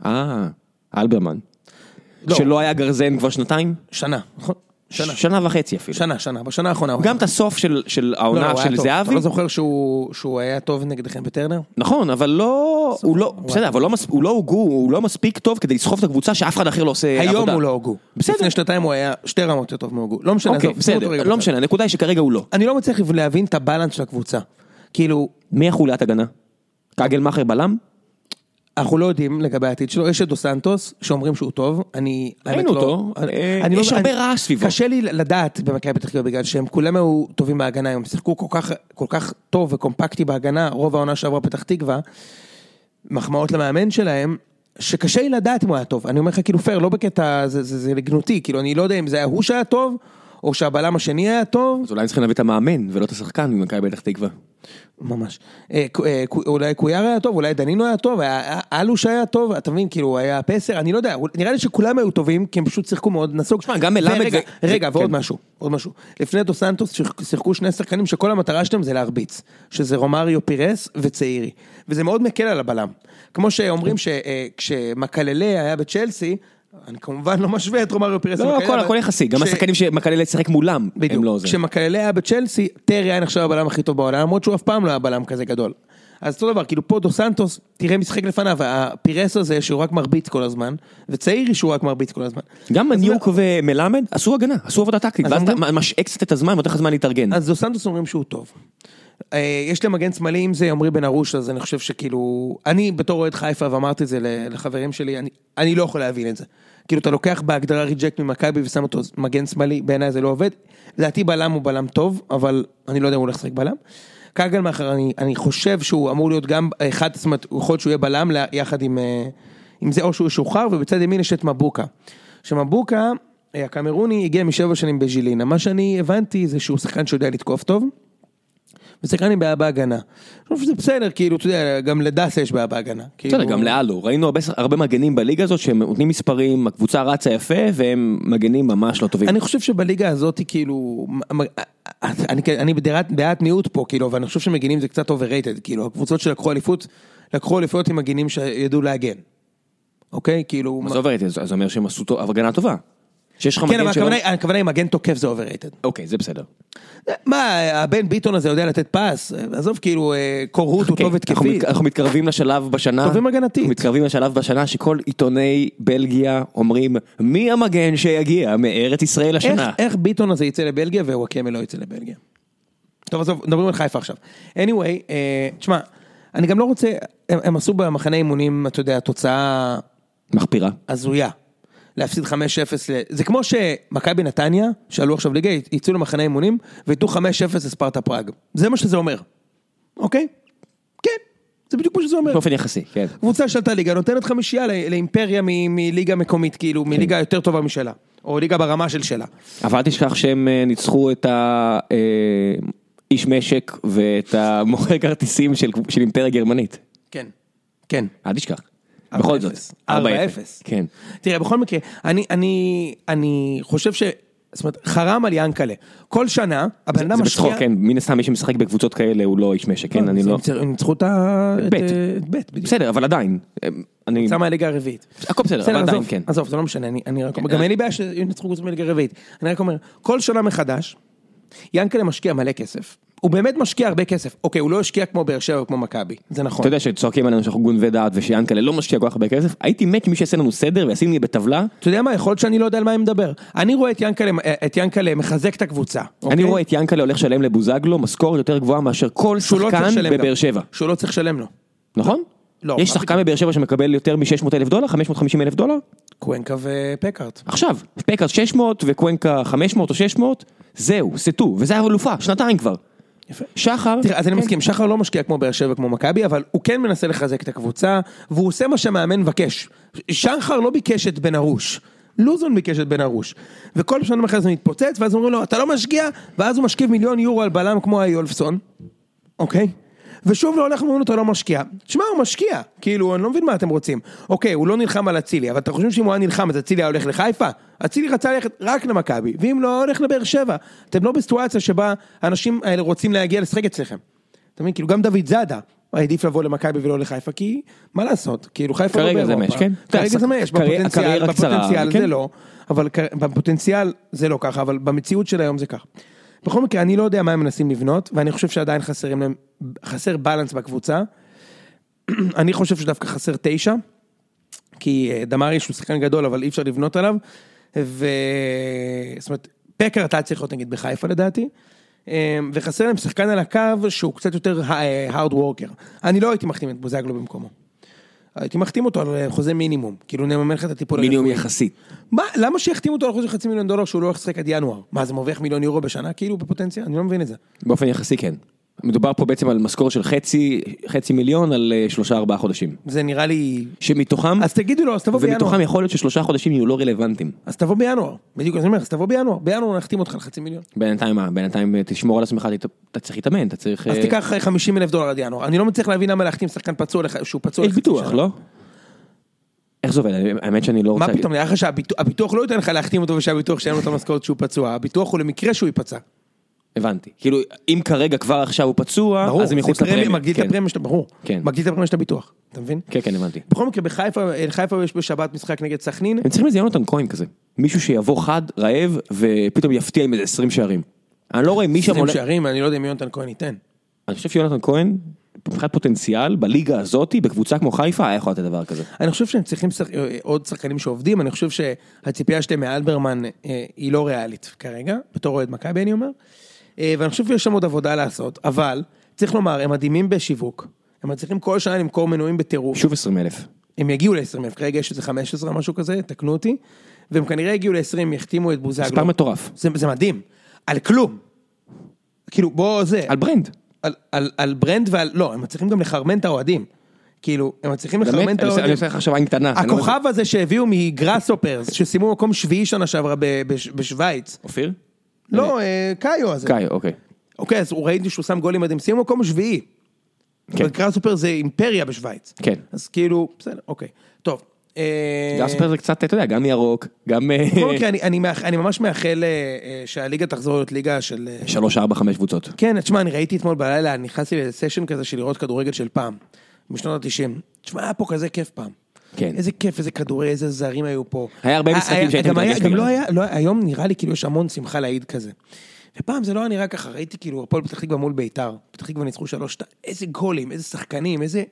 B: אה, אלברמן.
A: לא.
B: שלא היה גרזן כבר שנתיים?
A: שנה, נכון? לא. שנה.
B: שנה וחצי אפילו.
A: שנה, שנה, בשנה האחרונה. הוא
B: גם
A: היה-
B: את הסוף של, של
A: לא, לא,
B: העונה
A: הוא היה
B: של
A: טוב.
B: זהבי,
A: אתה לא זוכר שהוא שהוא היה טוב נגדכם בטרנר?
B: נכון, אבל לא, הוא לא, בסדר, אבל לא מס- הוא לא הוגו, הוא לא מספיק טוב כדי לסחוב את הקבוצה שאף אחד אחר לא עושה עבודה.
A: היום הוא לא הוגו.
B: בסדר.
A: לפני שנתיים הוא היה שתי רמות יותר טוב מהוגו. לא משנה,
B: אוקיי,
A: עזוב, שימו אותו רגע
B: בסדר, לא
A: בצד.
B: משנה, הנקודה היא שכרגע הוא לא.
A: אני לא מצליח להבין את הבלנס של הקבוצה. כאילו,
B: מי החוליית הגנה? כגלמאכר בלם?
A: אנחנו לא יודעים לגבי העתיד שלו, יש את דו סנטוס, שאומרים שהוא טוב, אני...
B: ראינו
A: האמת לא-
B: אותו, אה,
A: אני לא-
B: יש
A: אני-
B: הרבה רעש סביבו.
A: קשה לי לדעת במכבי פתח תקווה, בגלל שהם כולם היו טובים בהגנה, הם שיחקו כל כך, כל כך טוב וקומפקטי בהגנה, רוב העונה שעברה פתח תקווה, מחמאות למאמן שלהם, שקשה לי לדעת אם הוא היה טוב, אני אומר לך כאילו פייר, לא בקטע, זה- זה זה לגנותי, כאילו אני לא יודע אם זה היה הוא שהיה טוב, או שהבלם השני היה טוב,
B: אז אולי הם צריכים להביא את המאמן ולא את השחקן ממכבי פתח תקווה.
A: ממש. אה, קו- אה, קו- אולי קויאר היה טוב, אולי דנינו היה טוב, היה- היה- אלוש היה טוב, אתה מבין, כאילו, היה פסר, אני לא יודע, אול- נראה לי שכולם היו טובים, כי הם פשוט שיחקו מאוד נסוג.
B: תשמע, גם מלמד
A: ורגע,
B: זה-
A: רגע,
B: זה-
A: ועוד
B: כן.
A: משהו, עוד משהו. לפני דו סנטוס שיח- שיחקו שני שחקנים שכל המטרה שלהם זה להרביץ, שזה רומאריו פירס וצעירי, וזה מאוד מקל על הבלם. כמו שאומרים שכשמקללה היה בצ'לסי, אני כמובן לא משווה את רומאריו פירס.
B: לא,
A: למקללה,
B: הכל
A: אבל-
B: הכל יחסי, גם
A: ש-
B: השחקנים שמקללה לשחק מולם, הם לא
A: בדיוק,
B: זה.
A: כשמקללה היה בצ'לסי, טרי היה נחשב הבלם הכי טוב בעולם, למרות שהוא אף פעם לא היה בלם כזה גדול. אז אותו דבר, כאילו פה דו סנטוס, תראה משחק לפניו, הפירס הזה שהוא רק מרביץ כל הזמן, וצעירי שהוא רק מרביץ כל הזמן.
B: גם
A: אז
B: מניוק ומלמד עשו הגנה, עשו עבודה טקטית,
A: אז
B: ואז אתה
A: אומרים-
B: משעה קצת את הזמן ונותן לך זמן להתארגן.
A: אז דו סנטוס אומרים שהוא טוב. אה, יש להם מגן שמאלי, אם זה עמרי בן ארוש, אז אני חושב שכאילו, אני בתור אוהד חיפה, ואמרתי את זה ל- לחברים שלי, אני, אני לא יכול להבין את זה. כאילו, אתה לוקח בהגדרה ריג'קט ממכבי ושם אותו מגן שמאלי, בעיניי זה לא עובד. לדעתי בלם הוא בלם טוב, אבל אני לא יודע אם הוא הולך לשחק בלם. קגלמאכר, אני, אני חושב שהוא אמור להיות גם אחד, זאת אומרת, הוא יכול להיות שהוא יהיה בלם ל- יחד עם, אה, עם זה, או שהוא ישוחרר, ובצד ימין יש את מבוקה. שמבוקה, אה, הקמרוני, הגיע משבע שנים בז'ילינה. מה שאני הבנתי זה שהוא שחקן שיודע לתקוף טוב. ושחקן עם בעיה בהגנה. אני חושב שזה בסדר, כאילו, אתה יודע, גם לדסה יש בעיה בהגנה.
B: בסדר,
A: כאילו-
B: גם לאלו, ראינו הרבה- הרבה מגנים בליגה הזאת שהם נותנים מספרים, הקבוצה רצה יפה והם מגנים ממש לא טובים.
A: אני חושב שבליגה הזאת, כאילו, מ- מ- אני, אני בדעת, דעת מיעוט פה, כאילו, אבל אני חושב שמגינים זה קצת overrated, כאילו, הקבוצות שלקחו אליפות, לקחו אליפויות עם מגינים שידעו להגן. אוקיי? כאילו...
B: מה זה עוברת? אז אז זה אומר שהם עשו טוב- הגנה טובה. שיש לך
A: כן, אבל
B: מגן שלא...
A: הכוונה, היא- הכוונה היא מגן תוקף זה overrated.
B: אוקיי, זה בסדר.
A: מה, הבן ביטון הזה יודע לתת פס? עזוב, כאילו, אה, קורהוט הוא
B: אוקיי,
A: טוב
B: אנחנו
A: התקפית.
B: מת- אנחנו מתקרבים לשלב בשנה,
A: טובים הגנתית.
B: אנחנו מתקרבים לשלב בשנה שכל עיתוני בלגיה אומרים מי המגן שיגיע מארץ ישראל
A: איך-
B: השנה.
A: איך ביטון הזה יצא לבלגיה ווואקמה לא יצא לבלגיה? טוב עזוב, מדברים על חיפה עכשיו. anyway, אה, תשמע, אני גם לא רוצה, הם, הם עשו במחנה אימונים, אתה יודע, תוצאה
B: מחפירה.
A: הזויה. להפסיד 5-0, ל- זה כמו שמכבי נתניה, שעלו עכשיו ליגה, יצאו למחנה אימונים, וייתנו 5-0 לספרטה פראג. זה מה שזה אומר, אוקיי? כן, זה בדיוק מה שזה אומר.
B: באופן יחסי, כן.
A: קבוצה שעלתה ליגה נותנת חמישייה לא- לאימפריה מ- מליגה מקומית, כאילו, מליגה יותר טובה משלה, או ליגה ברמה של שלה.
B: אבל אל תשכח שהם אה, ניצחו את האיש משק ואת המוכר כרטיסים של של אימפריה גרמנית.
A: כן. כן.
B: אל תשכח. בכל זאת.
A: 4-0. 4-0.
B: 4-0. כן.
A: תראה, בכל מקרה, אני, אני, אני חושב ש... זאת אומרת, חרם על ינקלה. כל שנה, הבן אדם
B: זה
A: משקיע...
B: בצחוק, כן. מן הסתם מי שמשחק בקבוצות כאלה הוא לא איש משק, כן? אני לא...
A: הם ניצחו את ה...
B: בית.
A: את, אה, את בית, בדיוק.
B: בסדר, אבל עדיין. אה, אני...
A: יצא מהליגה הרביעית.
B: הכל בסדר, אבל
A: עזוב,
B: עדיין כן. אה-
A: עזוב, זה לא משנה, אני, אני רק... גם אין לי בעיה שינצחו קבוצה מליגה רביעית. אני רק אומר, כל שנה מחדש, ינקלה משקיע מלא כסף. הוא באמת משקיע הרבה כסף. אוקיי, הוא לא השקיע כמו באר שבע או כמו מכבי, זה נכון.
B: אתה יודע שצועקים עלינו שאנחנו גונבי דעת ושיאנקלה לא משקיע כל כך הרבה כסף, הייתי מת מי שיעשה לנו סדר וישים לי בטבלה,
A: אתה יודע מה, יכול להיות שאני לא יודע על מה אני מדבר. אני רואה את ינקלה, את ינקלה מחזק את הקבוצה.
B: אני
A: אוקיי?
B: רואה את יאנקלה הולך לשלם לבוזגלו משכורת יותר גבוהה מאשר כל
A: שהוא לא צריך
B: שחקן
A: לשלם גם.
B: בבאר שבע,
A: שהוא לא צריך לשלם לו.
B: נכון?
A: לא,
B: יש
A: מה
B: שחקן בבאר שבע שמקבל יותר מ-600 אלף דולר, 550 אלף דולר,
A: קוונקה ופקארט.
B: עכשיו, פקארט 600 וקוונקה 500 או 600, זהו, סטו, וזה האלופה, שנתיים כבר.
A: יפה.
B: שחר,
A: תראה, אז אני
B: כן,
A: מסכים, שחר לא משקיע כמו באר שבע כמו מכבי, אבל הוא כן מנסה לחזק את הקבוצה, והוא עושה מה שהמאמן מבקש. שחר לא ביקש את בן ארוש. לוזון ביקש את בן ארוש. וכל שנה מחר זה מתפוצץ, ואז אומרים לו, אתה לא משקיע, ואז הוא משכיב מיליון יורו על בלם כמו איולפסון, אוקיי? ושוב לא הולך ואומרים לו, אתה לא משקיע. תשמע, הוא משקיע. כאילו, אני לא מבין מה אתם רוצים. אוקיי, הוא לא נלחם על אצילי, אבל אתם חושבים שאם הוא היה נלחם, אז אצילי היה הולך לחיפה? אצילי רצה ללכת רק למכבי, ואם לא, היה הולך לבאר שבע. אתם לא בסיטואציה שבה האנשים האלה רוצים להגיע לשחק אצלכם. אתה מבין? כאילו, גם דוד זאדה. העדיף לבוא למכבי ולא לחיפה, כי מה לעשות, כאילו חיפה לא
C: כרגע
A: באירופה.
C: זה מאש, כן.
A: כרגע
C: כן,
A: זה
C: הקרי-
A: מאש, בפוטנציאל,
C: הקריירה קצרה,
A: בפוטנציאל
C: כן.
A: זה לא, אבל כ- בפוטנציאל זה לא ככה, אבל במציאות של היום זה ככה. בכל מקרה, אני לא יודע מה הם מנסים לבנות, ואני חושב שעדיין חסרים להם, חסר בלנס בקבוצה. (clears throat) אני חושב שדווקא חסר תשע, כי אה, דמרי שהוא שחקן גדול, אבל אי אפשר לבנות עליו. ו... זאת אומרת, פקר אתה צריך להיות נגיד בחיפה לדעתי. אה, וחסר להם שחקן על הקו שהוא קצת יותר הארד וורקר. אני לא הייתי מחתים את בוזגלו במקומו. הייתי מחתים אותו על אה, חוזה מינימום, כאילו נממן לך את הטיפול
B: מינימום
A: הרפואי.
B: יחסי.
A: מה, למה שיחתימו אותו על חוזה חצי מיליון דולר שהוא לא הולך לשחק עד ינואר? מה, זה מרוויח מיליון יורו בשנה כאילו בפוטנציה? אני לא מבין את זה.
B: באופן יחסי כן. מדובר פה בעצם על משכורת של חצי, חצי מיליון על אה, שלושה ארבעה חודשים.
A: זה נראה לי...
B: שמתוכם,
A: אז תגידו לו, אז תבוא בינואר.
B: ומתוכם יכול להיות ששלושה חודשים יהיו לא רלוונטיים.
A: אז תבוא בינואר. בדיוק, אז אני אומר, אז תבוא בינואר. בינואר נחתים אותך על חצי מיליון.
B: בינתיים מה? בינתיים אה, תשמור על עצמך, ת- אתה צריך להתאמן, אתה צריך...
A: אז
B: אה,
A: תיקח 50 אלף דולר עד ינואר. אני לא מצליח להבין למה להחתים שחקן פצוע לח- שהוא פצוע
B: יש
A: לחצי
B: ביטוח,
A: שנה.
B: לא? איך זה עובד? אני- האמת שאני לא
A: מה
B: רוצה...
A: פתאום, נראה לך שהביטוח לא ייתן לך להחתים אותו ושהביטוח שאין לו את המשכורת שהוא פצוע. הביטוח הוא למקרה שהוא ייפצע.
B: הבנתי. כאילו, אם כרגע כבר עכשיו הוא פצוע,
A: ברור.
B: אז זה מחוץ
A: פרמיה,
B: לפרמיה.
A: מגדיל את
B: כן.
A: הפרמיה שאתה, ברור.
B: כן.
A: מגדיל את הפרמיה של הביטוח. אתה מבין?
B: כן, כן, הבנתי.
A: בכל מקרה, בחיפה, חיפה יש בשבת משחק נגד סכנין.
B: הם צריכים איזה יונתן כהן כזה. מישהו שיבוא חד, רעב, ופתאום יפתיע עם איזה 20 שערים. אני לא רואה מי שם
A: עושים
B: עולה...
A: שערים, אני לא יודע אם יונתן כהן ייתן.
B: אני חושב שיונתן כהן, מבחינת פוטנציאל, בליגה הזאתי, בקבוצה כמו חיפה, היה יכול לתת דבר כזה.
A: אני חושב שהם צריכים שח... אה, עוד שחקנים שעובדים, אני חושב שהציפייה שלהם מאלברמן אה, היא לא ריאלית כרגע, בתור אוהד מכבי אני אומר, אה, ואני חושב שיש שם עוד עבודה לעשות, אבל צריך לומר, הם מדהימים בשיווק, הם מצליחים כל שנה למכור מנויים בטירוף,
B: שוב 20 אלף.
A: הם יגיעו ל-20 אלף, כרגע יש איזה 15 משהו כזה, תקנו אותי, והם כנראה יגיעו ל-20, יחתימו את
B: מספר
A: בוזגלו,
B: מטורף.
A: זה, זה מדהים, על כלום, כאילו בוא זה,
B: על ברנד.
A: על, על, על ברנד ועל, לא, הם מצליחים גם לחרמן את האוהדים. כאילו, הם מצליחים לחרמן
B: באמת?
A: את
B: אני עושה-
A: האוהדים.
B: אני עושה לך עכשיו עין קטנה. אני לא יודע-
A: הכוכב הזה שהביאו מגראסופרס, שסיימו מקום שביעי שנה שעברה ב- בש- בשוויץ.
B: אופיר?
A: לא, אה, קאיו הזה.
B: קאי, אוקיי.
A: אוקיי, אז הוא ראיתי שהוא שם גולים מדהים, סיימו מקום שביעי.
B: כן.
A: וגראסופרס זה אימפריה בשוויץ.
B: כן.
A: אז כאילו, בסדר, אוקיי. טוב. אה, כן.
B: גר ספר זה קצת, אתה יודע, גם ירוק, גם... אה,
A: בכל מקרה, אני- אני מאח- אני ממש מאחל אה, אה, שהליגה תחזור להיות ליגה של... אה,
B: שלוש, ארבע, חמש קבוצות.
A: כן, תשמע, אני ראיתי אתמול בלילה, נכנסתי לסשן כזה של לראות כדורגל של פעם, משנות ה-90. תשמע, היה פה כזה כיף פעם.
B: כן.
A: איזה כיף, איזה כדורגל, איזה זרים היו פה.
B: היה הרבה
A: אה,
B: משחקים
A: היה-
B: שהייתי
A: גם היה-
B: מתרגש
A: גם לא
B: ממנו.
A: היה, לא, היום נראה לי כאילו יש המון שמחה לאיד כזה. ופעם זה לא היה נראה ככה, ראיתי כאילו הפועל פתח תקווה מול ביתר. פתח תקווה ניצחו שלוש, שתיים, איזה גולים, איזה שחקנים, איזה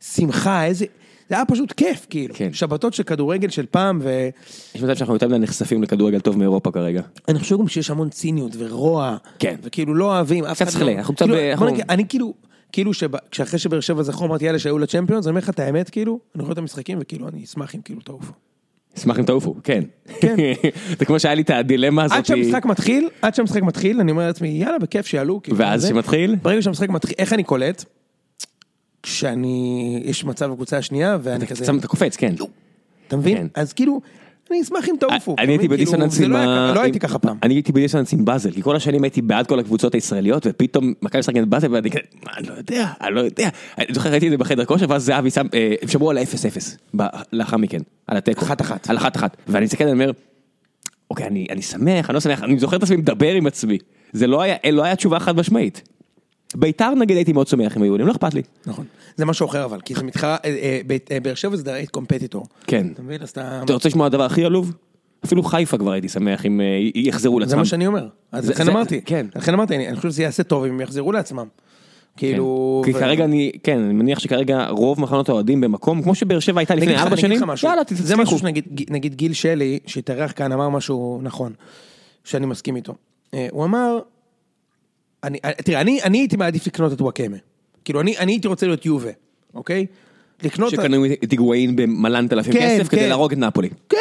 A: שמחה, איזה... זה היה פשוט כיף, כאילו.
B: כן.
A: שבתות של כדורגל של פעם, ו...
B: יש מצב שאנחנו יותר מדי נחשפים לכדורגל טוב מאירופה כרגע.
A: אני חושב גם שיש המון ציניות ורוע,
B: כן.
A: וכאילו לא אוהבים, אף
B: קצת
A: אחד
B: שכלה,
A: לא...
B: אנחנו קצת
A: כאילו,
B: ב-
A: בוא
B: אנחנו-
A: נגיד, אני כאילו, כאילו שבא- כשאחרי שבאר שבע זכו, אמרתי אלה שהיו לצ'מפיונס, אני אומר לך את האמת, כאילו, אני רואה את המשחקים וכאילו אני אשמח אם כאילו תעופו.
B: אשמח אם תעופו, כן.
A: כן.
B: (laughs) זה כמו שהיה לי את הדילמה הזאת.
A: עד שהמשחק מתחיל, עד שהמשחק מתחיל, אני אומר לעצמי, יאללה, בכיף שיעלו, כאילו.
B: ואז
A: זה.
B: שמתחיל?
A: ברגע שהמשחק מתחיל, איך אני קולט? כשאני, יש מצב בקבוצה השנייה, ואני
B: אתה
A: כזה, לא,
B: שם- אתה קופץ, כן.
A: אתה מבין?
B: כן.
A: אז כאילו, אני אשמח אם תעופו. אתה
B: אני הייתי
A: מבין? כאילו,
B: בדיסוננס
A: זה
B: עם
A: לא היה
B: ה...
A: ככה, לא הייתי
B: עם-
A: ככה פעם.
B: אני הייתי בדיסוננס עם באזל, כי כל השנים הייתי בעד כל הקבוצות הישראליות, ופתאום מכבי משחקת באזל, ואני כזה, "מה, אני לא יודע, אני לא יודע. אני זוכר, ראיתי את זה בחדר כושר, ואז זהבי שם, אה, הם שמרו על ה-0-0, ב- לאחר מכן, על התיקו.
A: אחת-אחת.
B: על אחת-אחת. ואני מסתכל, אני אומר, אוקיי, אני אני שמח, אני לא שמח, אני זוכר את עצמי מדבר עם עצמי. זה לא היה, לא היה תשובה חד משמעית. ביתר נגיד הייתי מאוד שמח אם היו עולים, לא אכפת לי.
A: נכון. זה משהו אחר אבל, כי זה מתחרה, אה, אה, בית- אה, באר שבע זה דרייט קומפטיטור.
B: כן.
A: אתה מבין? אז אתה...
B: אתה רוצה לשמוע הדבר הכי עלוב? אפילו חיפה כבר הייתי שמח אם אה, י- יחזרו לעצמם.
A: זה מה שאני אומר. אז
B: זה-
A: לכן
B: זה-
A: אמרתי.
B: כן.
A: לכן אמרתי, אני אני חושב שזה יעשה טוב אם הם יחזרו לעצמם. כאילו...
B: כן. כי
A: ו-
B: כרגע אני, כן, אני מניח שכרגע רוב מחנות האוהדים במקום, כמו שבאר שבע הייתה לפני
A: אני אגיד לך-
B: ארבע
A: אני אגיד
B: שנים,
A: לך משהו.
B: יאללה
A: זה
B: תצליחו.
A: משהו שנגיד נגיד גיל שלי, שהתארח כאן, אמר משהו נכון, שאני מסכים איתו. אה, הוא אמר, אני- אה, תראה, אני אני הייתי מעדיף לקנות את וואקמה. כאילו, אני אני הייתי רוצה להיות יובה, אוקיי? לקנות...
B: שקנו את היגואין במלן תל אביב
A: כן,
B: כסף כדי
A: כן.
B: להרוג את נפולי.
A: כן.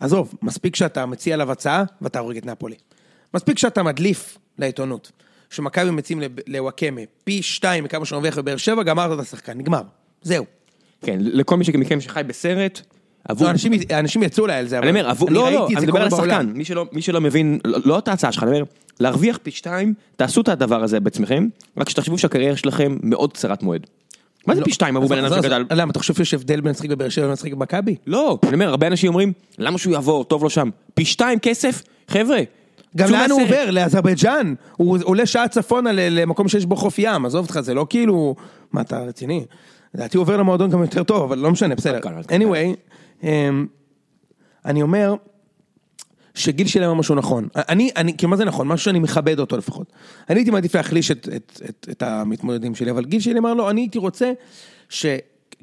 A: עזוב, מספיק שאתה מציע עליו הצעה ואתה הורג את נפולי. מספיק שאתה מדליף לעיתונות, שמכבי מציעים לב- לוואקמה פי שתיים מכמה שהוא מרוויח בבאר שבע, גמרת את השחקן, נגמר. זהו.
B: כן, לכל מי מכם שחי בסרט, עבור...
A: לא, אנשים, אנשים יצאו אליי על זה, אבל
B: אני אומר, עבור...
A: אני
B: לא, לא,
A: ראיתי את זה
B: אני מדבר
A: קורה
B: על
A: בעולם.
B: השחקן, מי שלא- מי שלא מבין, לא לא את ההצעה שלך, אני אומר, להרוויח פי שתיים, תעשו את הדבר הזה בעצמכם, רק שתחשבו שהקריירה שלכם מאוד קצרת מועד. מה זה
A: לא.
B: פי שתיים עבור
A: אז-
B: בן אדם
A: אז- אז-
B: שגדל?
A: למה, אתה חושב שיש הבדל בין לשחק בבאר שבע לבין לשחק במכבי?
B: לא, אני אומר, הרבה אנשים אומרים, למה שהוא יעבור, טוב לו שם. פי שתיים כסף, חבר'ה,
A: גם
B: צאו
A: לאן הוא
B: מהסרט.
A: עובר? לאזרבייג'אן? הוא עולה שעה צפונה ל- למקום שיש בו חוף ים, עזוב אותך, זה לא כאילו... מה, אתה רציני? לדעתי הוא עובר למועדון גם יותר טוב, אבל לא משנה, בסדר.
B: כאן, עד כאן.
A: anyway, אמ, אני אומר שגיל שלי אמר משהו נכון. אני, אני, כי מה זה נכון? משהו שאני מכבד אותו לפחות. אני הייתי מעדיף להחליש את, את, את, את המתמודדים שלי, אבל גיל שלי אמר לו, אני הייתי רוצה ש...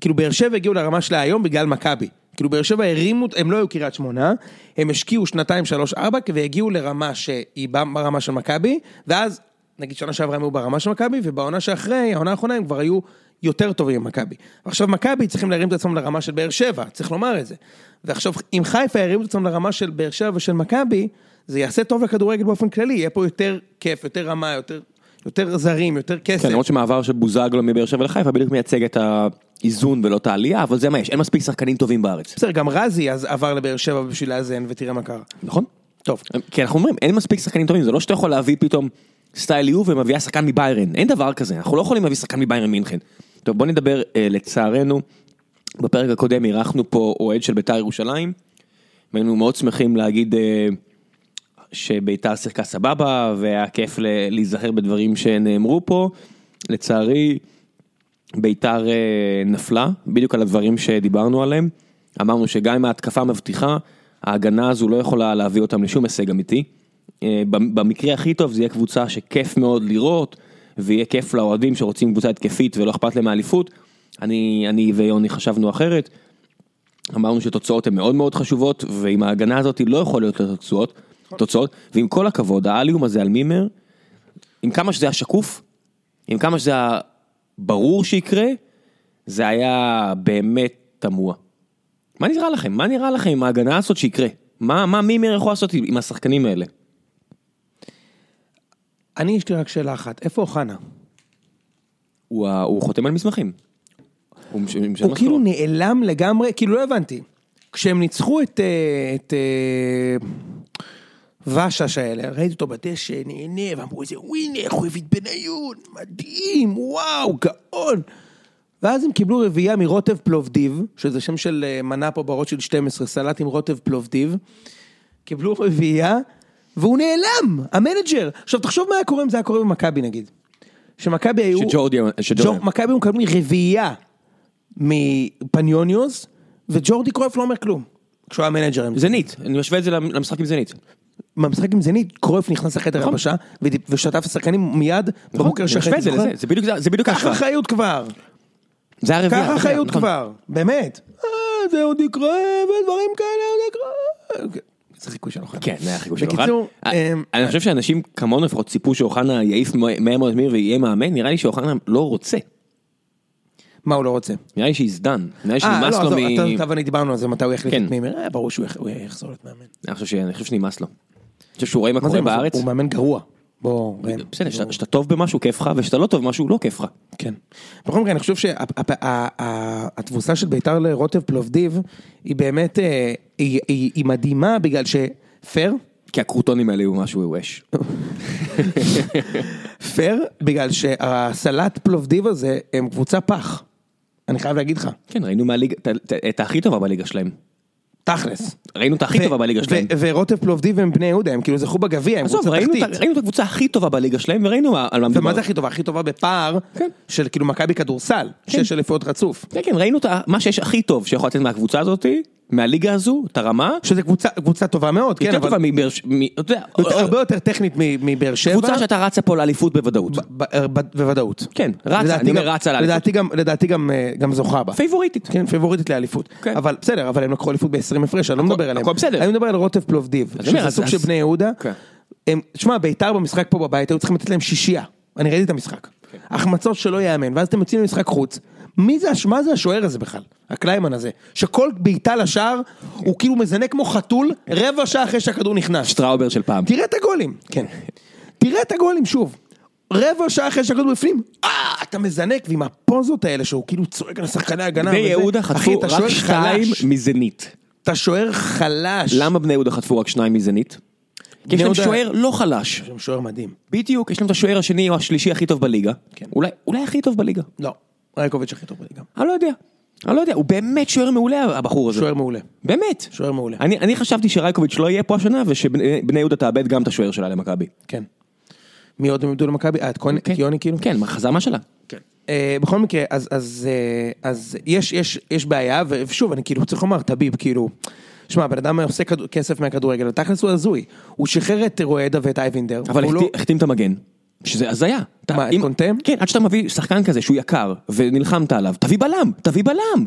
A: כאילו באר שבע הגיעו לרמה שלה היום בגלל מכבי. כאילו באר שבע הרימו, הם לא היו קריית שמונה, הם השקיעו שנתיים, שלוש, ארבע, והגיעו לרמה שהיא באה ברמה של מכבי, ואז נגיד שנה שעברה הם היו ברמה של מכבי, ובעונה שאחרי, העונה האחרונה הם כבר היו יותר טובים ממכבי. עכשיו מכבי צריכים להרים את עצמם לרמה של באר שבע, צריך לומר את זה. ועכשיו, אם חיפה ירימו את עצמם לרמה של באר שבע ושל מכבי, זה יעשה טוב לכדורגל באופן כללי, יהיה פה יותר כיף, יותר רמה, יותר, יותר זרים, יותר כסף.
B: כן, למרות שמעבר של בוזגלו מבאר שבע לחיפה בדיוק מייצג את האיזון ולא את העלייה, אבל זה מה יש, אין מספיק שחקנים טובים בארץ.
A: בסדר, גם רזי אז עבר לבאר שבע בשביל לאזן, ותראה מה קרה.
B: נכון?
A: טוב.
B: כי אנחנו אומרים, אין מספיק שחקנים טובים, זה לא שאתה יכול להביא פתאום סטייל יו ומביאה שחקן מביירן, אין דבר כזה, אנחנו לא יכולים להביא שחקן מביירן מינכן. טוב, בוא נדבר, אה, לצערנו, בפרק הקודם אירחנו פה אוהד של ביתר ירושלים, והיינו מאוד שמחים להגיד אה, שביתר שיחקה סבבה, והיה כיף ל- להיזכר בדברים שנאמרו פה. לצערי, ביתר אה, נפלה, בדיוק על הדברים שדיברנו עליהם. אמרנו שגם אם ההתקפה מבטיחה, ההגנה הזו לא יכולה להביא אותם לשום הישג אמיתי. אה, במ- במקרה הכי טוב זה יהיה קבוצה שכיף מאוד לראות, ויהיה כיף לאוהדים שרוצים קבוצה התקפית ולא אכפת להם מאליפות. אני, אני ויוני חשבנו אחרת. אמרנו שתוצאות הן מאוד מאוד חשובות, ועם ההגנה הזאת לא יכול להיות לה תוצאות, תוצאות, ועם כל הכבוד, העליום הזה על מימר, עם כמה שזה היה שקוף, עם כמה שזה היה ברור שיקרה, זה היה באמת תמוה. מה נראה לכם? מה נראה לכם עם ההגנה הזאת שיקרה? מה, מה מימר יכול לעשות עם עם השחקנים האלה?
A: אני, יש לי רק שאלה אחת, איפה אוחנה?
B: הוא, ה- הוא חותם על מסמכים. הוא, מש, משלם
A: הוא כאילו
B: משכורות.
A: נעלם לגמרי, כאילו לא הבנתי. כשהם ניצחו את, אה, את אה, ושש האלה, ראיתי אותו בדשא, נהנה, ואמרו איזה ווינר, חויבית בניון, מדהים, וואו, גאון. ואז הם קיבלו רביעייה מרוטב פלובדיב, שזה שם של אה, מנה פה בראש של 12, סלט עם רוטב פלובדיב. קיבלו רביעייה, והוא נעלם, המנג'ר. עכשיו תחשוב מה היה קורה אם זה היה קורה במכבי נגיד. שמכבי היו...
B: שג'ורדי- שג'ורדי-
A: ג'ור- מכבי היו מקבלים רביעייה מפניוניוס, וג'ורדי קרויף לא אומר כלום. כשהוא היה מנג'ר. הם-
B: זנית, אני משווה את זה למ- למשחק עם זנית.
A: במשחק עם זנית, קרויף נכנס לחדר
B: נכון.
A: הלבשה, ודיפ- ושטף את השחקנים מיד בבוקר
B: אני משווה
A: שאחרי
B: את זה
A: זוכר?
B: לזה, זה בדיוק זה- זה בדיוק
A: קח
B: ההשוואה.
A: אחריות כבר,
B: זה היה רביעייה.
A: קח אחריות
B: נכון.
A: כבר, באמת. אה, זה עוד יקרה, ודברים כאלה עוד יקרה. אוקיי. זה חיקוי של אוחנה.
B: כן, זה היה חיקוי של אוחנה.
A: בקיצור,
B: אה,
A: אמ,
B: אני חושב שאנשים כמונו לפחות ציפו שאוחנה יעיף מה- מהר מאוד מיר ויהיה מאמן, נראה לי שאוחנה לא רוצה.
A: מה הוא לא רוצה?
B: נראה לי שהזדן. נראה
A: אה,
B: לי שנמאס
A: לא,
B: לו
A: עזוב,
B: מ...
A: אתה- אתה ואני דיברנו על זה, מתי הוא יחליף
B: כן.
A: את מימר, אה, ברור שהוא יח- הוא יחזור להיות מאמן.
B: אני חושב ש- אני חושב שנמאס לו. אני חושב שהוא רואה מה
A: מה זה,
B: קורה בארץ.
A: הוא מאמן גרוע. בוא, ראם.
B: בסדר, שאתה- שאתה טוב במשהו כיף לך, ושאתה לא טוב במשהו לא כיף לך.
A: כן. בכל מקרה, אני חושב שהתבוסה של ביתר לרוטב פלובדיב, היא באמת, אה, היא- היא היא מדהימה בגלל ש... פייר?
B: כי הקרוטונים האלה היו משהו אש.
A: פייר, בגלל שהסלט פלובדיב הזה, הם קבוצה פח. אני חייב להגיד לך,
B: כן, ראינו מהליגה, את ה- את הכי טובה בליגה שלהם.
A: תכלס.
B: ראינו את הכי
A: ו-
B: טובה בליגה
A: ו-
B: שלהם.
A: ו- ורוטב פלובדיב הם בני יהודה, הם כאילו זכו בגביע, הם
B: עזוב,
A: קבוצה
B: ראינו את ה-
A: תחתית.
B: ראינו את הקבוצה הכי טובה בליגה שלהם, וראינו מה- על מה מדובר.
A: ומה זה הכי טובה? הכי טובה בפער
B: כן.
A: של כאילו מכבי כדורסל, שש אליפויות רצוף.
B: כן, כן, ראינו את ה- מה שיש הכי טוב שיכול לתת מהקבוצה הזאתי, מהליגה הזו, את הרמה,
A: שזה קבוצה- קבוצה טובה מאוד, כן,
B: יותר
A: אבל
B: טובה מבאר ש... מ- אתה יודע, אה,
A: יותר- הרבה יותר טכנית מ- מבאר שבע.
B: קבוצה שאתה רצה פה לאליפות בוודאות.
A: ב- ב- ב- בוודאות.
B: כן, רצה,
A: לדעתי
B: אני אומר
A: גם-
B: רצה לאליפות.
A: לדעתי גם, לדעתי גם, אה, גם זוכה בה.
B: פייבוריטית.
A: כן, פייבוריטית לאליפות.
B: כן.
A: אבל בסדר, אבל הם לקחו אליפות ב-20 הפרש, אני לא מדבר עליהם.
B: הכל בסדר.
A: אני מדבר על רוטב פלובדיב,
B: אני אומר,
A: שזה
B: אז-
A: סוג של
B: אז-
A: בני יהודה.
B: כן.
A: הם- שמע, בית"ר במשחק פה בבית היו צריכים לתת להם שישייה. אני ראיתי את המשחק.
B: כן.
A: החמצות שלא ייאמן, ואז אתם יוצאים למשחק חוץ. מי זה, הש- מה זה השוער הזה בכלל? הקליימן הזה. שכל בעיטה לשער, הוא כאילו מזנק כמו חתול רבע שעה אחרי שהכדור נכנס.
B: שטראובר של פעם.
A: תראה את הגולים, כן. תראה את הגולים שוב. רבע שעה אחרי שהכדור בפנים, אה, אתה מזנק, ועם הפוזות האלה שהוא כאילו צועק על השחקני ההגנה.
B: בני
A: וזה.
B: יהודה
A: אחי,
B: חטפו
A: אתה
B: רק
A: שוער
B: שתיים
A: חלש.
B: מזנית.
A: אתה שוער חלש.
B: למה בני יהודה חטפו רק שניים מזנית? כי יש להם
A: יהודה-
B: שוער לא חלש.
A: יש שם שוער מדהים.
B: בדיוק, יש להם את השוער השני או השלישי הכי טוב בליגה.
A: כן.
B: אולי- אולי הכי טוב בליגה.
A: לא, רייקוביץ' הכי טוב בליגה.
B: אני לא יודע. אני לא יודע, הוא באמת שוער מעולה הבחור הזה.
A: שוער מעולה.
B: באמת.
A: שוער מעולה.
B: אני, אני חשבתי שרייקוביץ' לא יהיה פה השנה ושבני בני יהודה תאבד גם את השוער שלה למכבי.
A: כן. מי עוד הם איבדו למכבי? אה, את כהן, את יוני כאילו?
B: כן, מה, חזמה שלה.
A: כן. בכל מקרה, אז, אז, אה, אז יש, יש, יש בעיה, ו- ושוב, אני כאילו צריך לומר, טביב, כאילו, שמע, הבן אדם עושה כדו- כסף מהכדורגל, תכלס הוא הזוי. הוא שחרר את רואדה ואת אייבינדר.
B: אבל
A: הוא
B: החתי-
A: לא-
B: החתים את המגן. שזה הזיה. אתה-
A: מה, את
B: אם-
A: קונטה?
B: כן, עד שאתה מביא שחקן כזה שהוא יקר ונלחמת עליו, תביא בלם, תביא בלם.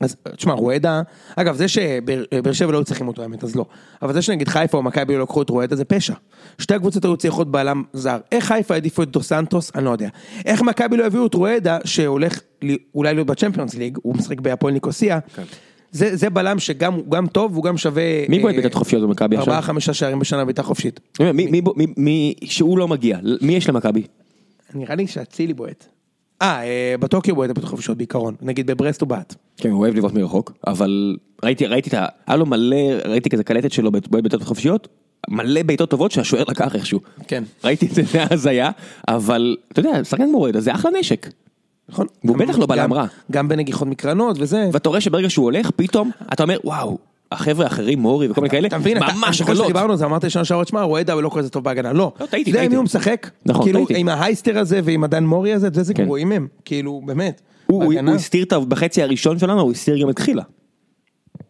A: אז תשמע, רואדה, אגב, זה שבאר שבע לא היו צריכים אותו, האמת, אז לא. אבל זה שנגיד חיפה או מכבי לא לקחו את רואדה זה פשע. שתי הקבוצות היו צריכות בלם זר. איך חיפה העדיפו את דו סנטוס? אני לא יודע. איך מכבי לא הביאו את רואדה, שהולך לי- אולי להיות בצ'מפיונס ליג, הוא משחק בהפועל ניקוסיה. זה, זה בלם שגם הוא גם טוב, והוא גם שווה...
B: כן. מי בועט
A: אה,
B: בעיטות חופשיות במכבי עכשיו?
A: ארבעה, חמישה שערים בשנה בעיטה חופשית.
B: אני אומר, מי- מי בו- מי- מי שהוא לא מגיע, מי יש למכבי?
A: נראה לי שאצילי בועט. אה, אה, בטוקיו בועט בעיטות חופשיות בעיקרון. נגיד בברסט הוא בעט.
B: כן, הוא אוהב לבעוט מרחוק, אבל ראיתי, ראיתי את ה... היה לו מלא, ראיתי כזה קלטת שלו בעת- בעיטות חופשיות, מלא בעיטות טובות שהשוער לקח איכשהו.
A: כן.
B: ראיתי את זה, (laughs) זה היה הזיה, אבל אתה יודע, שחקן כמו רועדה זה אחלה נשק.
A: נכון?
B: והוא בטח לא בלם
A: גם-
B: רע.
A: גם בנגיחות מקרנות וזה.
B: ואתה רואה שברגע שהוא הולך, פתאום אתה אומר, וואו, החבר'ה האחרים, מורי וכל מיני כאלה,
A: אתה מבין,
B: ממש
A: אתה, כל
B: חולות.
A: שדיברנו על זה, אמרת לשון שעות, שמע, רועדה הוא לא כזה טוב בהגנה, לא.
B: לא, טעיתי,
A: זה עם
B: טעיתי.
A: מי הוא משחק,
B: נכון,
A: כאילו,
B: טעיתי.
A: עם ההייסטר הזה ועם הדן מורי הזה, זה זה
B: כן.
A: גרועים הם, כאילו, באמת.
B: הוא הוא-
A: בהגנה.
B: הוא הסתיר את ה... בחצי הראשון שלנו, הוא הסתיר גם את חילה.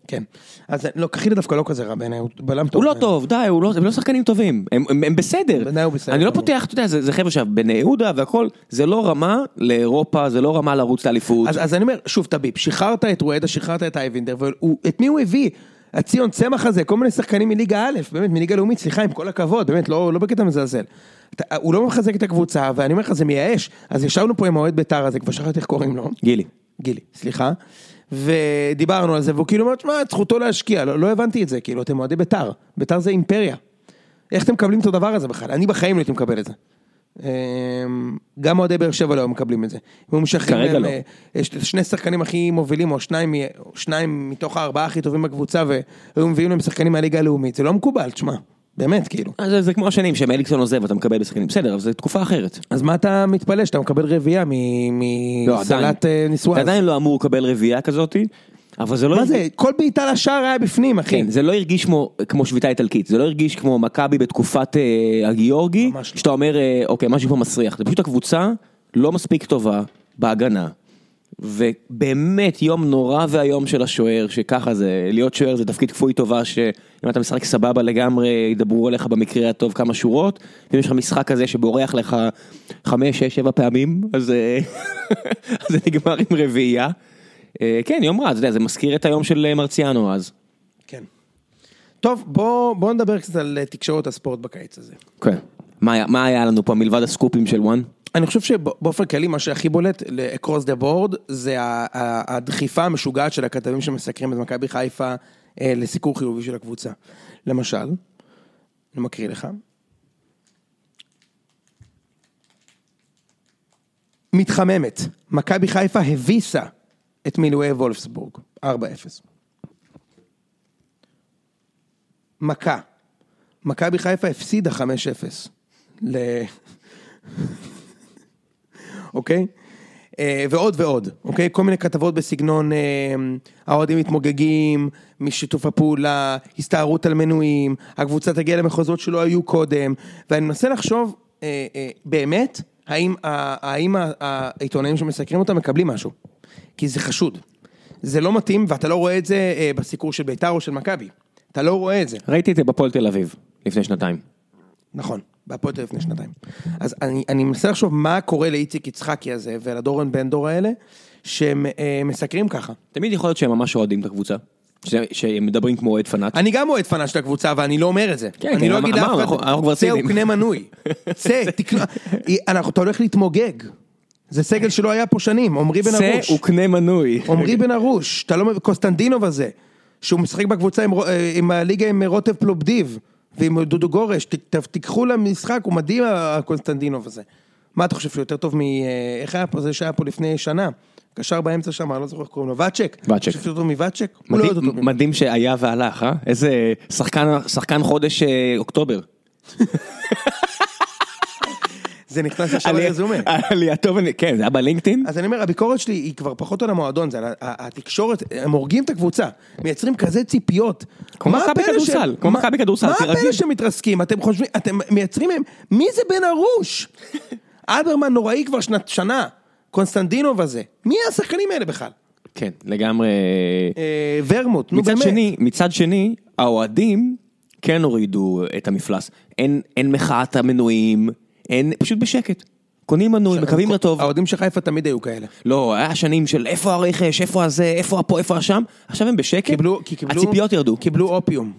A: כן. אז לא, קחילה דווקא לא כזה רע בעיניי, הוא בלם טוב.
B: הוא לא
A: בעיניי.
B: טוב, די, הוא לא- הם לא שחקנים טובים, הם- הם הם בסדר.
A: בעיניי הוא בסדר.
B: אני לא פותח, אתה יודע, זה זה חבר'ה שבני יהודה והכל, זה לא רמה לאירופה, זה לא רמה לרוץ לאליפות.
A: אז, אז אני אומר, שוב, טביב, שחררת את רועדה, שחררת את אייבינדר, ואת מי הוא הביא? הציון צמח הזה, כל מיני שחקנים מליגה א', באמת, מליגה לאומית, סליחה, עם כל הכבוד, באמת, לא, לא בקטע מזלזל. אתה, הוא לא מחזק את הקבוצה, ואני אומר לך, זה מייאש. אז ישבנו פה עם האוהד בית"ר הזה, כבר שכחתי איך קוראים לו.
B: גילי.
A: גילי, סליחה, ודיברנו על זה, והוא כאילו אומר, שמע, את זכותו להשקיע, לא, לא הבנתי את זה, כאילו, אתם אוהדי ביתר, ביתר זה אימפריה. איך אתם מקבלים את הדבר הזה בכלל? אני בחיים לא הייתי מקבל את זה. אמ, גם אוהדי באר שבע לא היו מקבלים את זה. והוא משחרר
B: כרגע
A: להם,
B: לא.
A: אה, אה, ש- שני שחקנים הכי מובילים, או שניים, מ- או שניים מתוך הארבעה הכי טובים בקבוצה, והיו מביאים להם שחקנים מהליגה הלאומית, זה לא מקובל, תשמע, באמת, כאילו.
B: אז זה- זה כמו השנים שמליקסון עוזב, אתה מקבל בשחקנים, בסדר, אבל זו תקופה אחרת.
A: אז מה אתה מתפלא שאתה מקבל רביעייה
B: לא, עדיין.
A: מסלט
B: אתה
A: נישואיו?
B: עדיין לא אמור לקבל רביעייה כזאתי, אבל זה לא...
A: אה, מה
B: הרגיש-
A: זה, כל בעיטה לשער היה בפנים, אחי.
B: כן, זה לא הרגיש כמו, כמו שביתה איטלקית, זה לא הרגיש כמו מכבי בתקופת אה, הגיאורגי,
A: ממש לא.
B: שאתה אומר, אה, אוקיי, משהו פה מסריח, זה פשוט הקבוצה לא מספיק טובה בהגנה. ובאמת יום נורא ואיום של השוער, שככה זה, להיות שוער זה תפקיד כפוי טובה, שאם אתה משחק סבבה לגמרי, ידברו עליך במקרה הטוב כמה שורות, ואם יש לך משחק כזה שבורח לך חמש, שש, שבע פעמים, אז אה, (laughs) אז זה נגמר עם רביעייה. אה, כן, יום רע, אתה יודע, זה מזכיר את היום של אה, מרציאנו אז.
A: כן. טוב, בוא, בוא נדבר קצת על אה, תקשורת הספורט בקיץ הזה.
B: כן. מה היה, מה היה לנו פה מלבד הסקופים של וואן?
A: אני חושב שבאופן כללי מה שהכי בולט ל-across the board זה ה- ה- הדחיפה המשוגעת של הכתבים שמסקרים את מכבי חיפה אה, לסיקור חיובי של הקבוצה. למשל, אני מקריא לך. מתחממת, מכבי חיפה הביסה את מילואי וולפסבורג, 4-0. מכה, מכבי חיפה הפסידה 5-0. ל... אוקיי? אה, ועוד ועוד, אוקיי? כל מיני כתבות בסגנון אה, האוהדים מתמוגגים משיתוף הפעולה, הסתערות על מנויים, הקבוצה תגיע למחוזות שלא היו קודם, ואני מנסה לחשוב אה, אה, באמת, האם, ה- האם ה- העיתונאים שמסקרים אותם מקבלים משהו? כי זה חשוד. זה לא מתאים, ואתה לא רואה את זה אה, בסיקור של ביתר או של מכבי. אתה לא רואה את זה.
B: ראיתי את זה בפועל תל אביב לפני שנתיים.
A: נכון, בהפועל תל אביב לפני שנתיים. אז אני, אני מנסה לחשוב מה קורה לאיציק יצחקי הזה ולדורון בן דור האלה, שהם אה, מסקרים ככה.
B: תמיד יכול להיות שהם ממש אוהדים את הקבוצה, ש- שהם מדברים כמו אוהד פנאט.
A: אני גם אוהד פנה של הקבוצה, אבל אני לא אומר את זה.
B: כן,
A: אני
B: כן,
A: לא
B: אמר-
A: אגיד לאף
B: אמרנו,
A: אחד,
B: אנחנו- אנחנו כבר
A: צא
B: סינים."
A: וקנה
B: (laughs)
A: מנוי. צא, תקנה, אנחנו- אתה הולך להתמוגג. זה סגל שלא היה פה שנים, עמרי בן ארוש.
B: צא וקנה מנוי.
A: עמרי בן ארוש, אתה לא מבין, קוסטנדינוב הזה, שהוא משחק בקבוצה עם, רו- אה, עם הליגה עם רוטב פלובדיב, ועם דודו גורש, ת, ת, תיקחו למשחק, הוא מדהים הקוסטנדינוב הזה. מה אתה חושב שהוא יותר טוב מ... אה, איך היה פה זה שהיה פה לפני שנה? קשר באמצע שם, אני לא זוכר איך קוראים לו, ואצ'ק?
B: ואצ'ק.
A: אתה חושב שהוא יותר טוב מוואצ'ק? הוא לא
B: מדהים,
A: יותר טוב ממנו.
B: מדהים שהיה והלך, אה? איזה שחקן, שחקן חודש אה, אוקטובר.
A: זה נכנס ישר
B: (laughs)
A: לרזומה.
B: עלייתו, ונ- כן, זה היה בלינקדאין.
A: אז אני אומר, הביקורת שלי היא כבר פחות על המועדון, זה על ה- ה- התקשורת, הם הורגים את הקבוצה, מייצרים כזה ציפיות.
B: כמו
A: מה
B: מכבי
A: הפלא
B: כדורסל,
A: שהם-
B: כמו
A: מה-
B: מכבי כדורסל,
A: מה
B: תירגעי.
A: הפלא שמתרסקים? אתם חושבים, אתם מייצרים מהם, מי זה בן
B: (laughs)
A: ארוש? אלברמן נוראי כבר שנת שנה, קונסטנדינוב הזה, מי השחקנים האלה בכלל?
B: כן, לגמרי.
A: אה, ורמוט, נו
B: מצד
A: באמת.
B: שני, מצד שני, האוהדים כן הורידו את המפלס. אין, אין מחאת המנויים, אין, פשוט בשקט. קונים מנוי, מקווים לטוב.
A: האוהדים של חיפה תמיד היו כאלה.
B: לא, היה שנים של איפה הרכש, איפה הזה, איפה הפה, איפה השם, עכשיו הם בשקט,
A: קיבלו, כי קיבלו,
B: הציפיות ירדו.
A: קיבלו אופיום.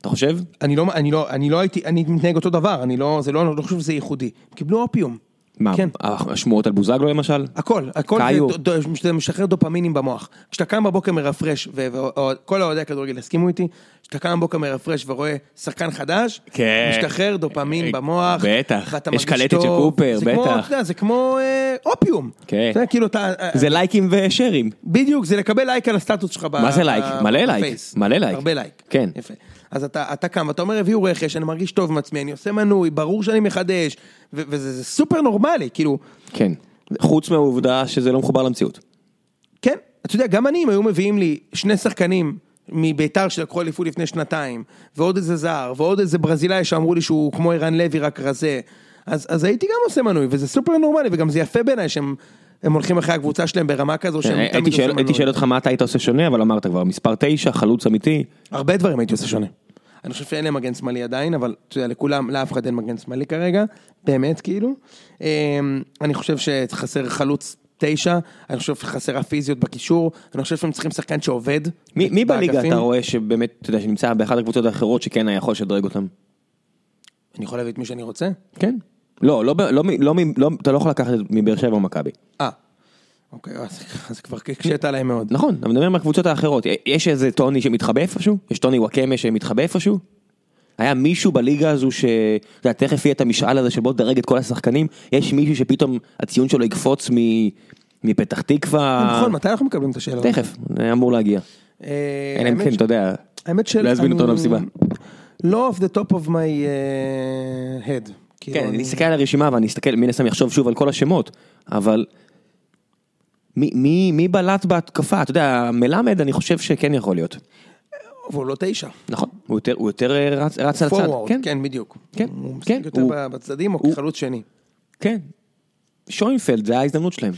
B: אתה חושב?
A: אני לא, אני לא, אני לא הייתי, אני מתנהג אותו דבר, אני לא, זה לא, אני לא חושב שזה ייחודי. קיבלו אופיום.
B: מה,
A: כן.
B: השמועות על בוזגלו למשל?
A: הכל, הכל זה
B: קאיו.
A: דו- דו- זה משחרר דופמינים במוח. כשאתה קם בבוקר מרפרש, וכל האוהדי הכדורגל יסכימו איתי, כשאתה קם בבוקר מרפרש ורואה שחקן חדש,
B: כן.
A: משתחרר דופמין
B: אה,
A: במוח.
B: בטח.
A: ואתה מרגיש
B: יש קלטת
A: טוב.
B: של קופר,
A: זה כמו,
B: בטח.
A: אתה יודע, זה כמו אה, אופיום.
B: כן.
A: אתה יודע, כאילו אתה... אה,
B: זה לייקים ושרים.
A: בדיוק, זה לקבל לייק על הסטטוס שלך ב-
B: מה זה לייק?
A: ב-
B: מלא לייק,
A: בפייס.
B: מלא לייק.
A: הרבה לייק.
B: כן.
A: יפה. אז אתה, אתה קם, אתה אומר, הביאו רכש, אני מרגיש טוב עם עצמי, אני עושה מנוי, ברור שאני מחדש, ו- וזה זה סופר נורמלי, כאילו,
B: כן. חוץ מהעובדה שזה לא מחובר למציאות.
A: כן, אתה יודע, גם אני, אם היו מביאים לי שני שחקנים מביתר שלקחו אליפות לפני שנתיים, ועוד איזה זר, ועוד איזה ברזילאי שאמרו לי שהוא כמו ערן לוי, רק רזה, אז, אז הייתי גם עושה מנוי, וזה סופר נורמלי, וגם זה יפה בעיניי שהם הם הולכים אחרי הקבוצה שלהם ברמה כזו שהם
B: אה, הייתי שואל- הייתי שואל אותך מה אתה היית עושה שונה, אבל אמרת כבר, מספר 9, חלוץ אמיתי.
A: הרבה דברים הייתי עושה שונה. אני חושב שאין להם מגן שמאלי עדיין, אבל אתה יודע, לכולם, לאף אחד אין מגן שמאלי כרגע, באמת כאילו. אמ, אני חושב שחסר חלוץ תשע, אני חושב שחסר הפיזיות בקישור, אני חושב שהם צריכים שחקן שעובד.
B: מי מי בליגה
A: באגפים.
B: אתה רואה שבאמת, אתה יודע, שנמצא באחת הקבוצות האחרות שכן היה יכול לשדרג אותם?
A: אני יכול להביא את מי שאני רוצה?
B: כן. לא, לא, ב- לא, מ- לא, מ- לא, אתה לא יכול לקחת את- מבאר שבע או מכבי.
A: אה. אוקיי, אז, אז כבר הקשית עליהם מאוד.
B: נכון, אני מדבר מהקבוצות האחרות. יש איזה טוני שמתחבא איפשהו? יש טוני וואקמה שמתחבא איפשהו? היה מישהו בליגה הזו ש... אתה יודע, תכף יהיה את המשאל הזה של בוא תדרג את כל השחקנים, יש מישהו שפתאום הציון שלו יקפוץ מ... מפתח תקווה...
A: נכון, מתי אנחנו מקבלים את השאלות?
B: אה. תכף, זה אמור להגיע.
A: אה,
B: אלא אם
A: האמת
B: כן,
A: ש-
B: אתה יודע,
A: האמת של...
B: לא יזמינו אותו
A: אני-
B: למסיבה.
A: לא off the top of my אה, head. כאילו,
B: כן, אני אסתכל על הרשימה ואני אסתכל, מן הסתם יחשוב שוב על כל השמות, אבל מי- מי מי בלט בהתקפה? אתה יודע, מלמד אני חושב שכן יכול להיות.
A: והוא לא תשע.
B: נכון, הוא יותר- הוא יותר אה, רץ רץ על הצד.
A: פורוורד, כן, בדיוק.
B: כן,
A: הוא
B: כן,
A: משחק יותר
B: הוא-
A: ב- בצדדים או
B: הוא-
A: כחלוץ שני.
B: כן. שוינפלד זה היה ההזדמנות שלהם.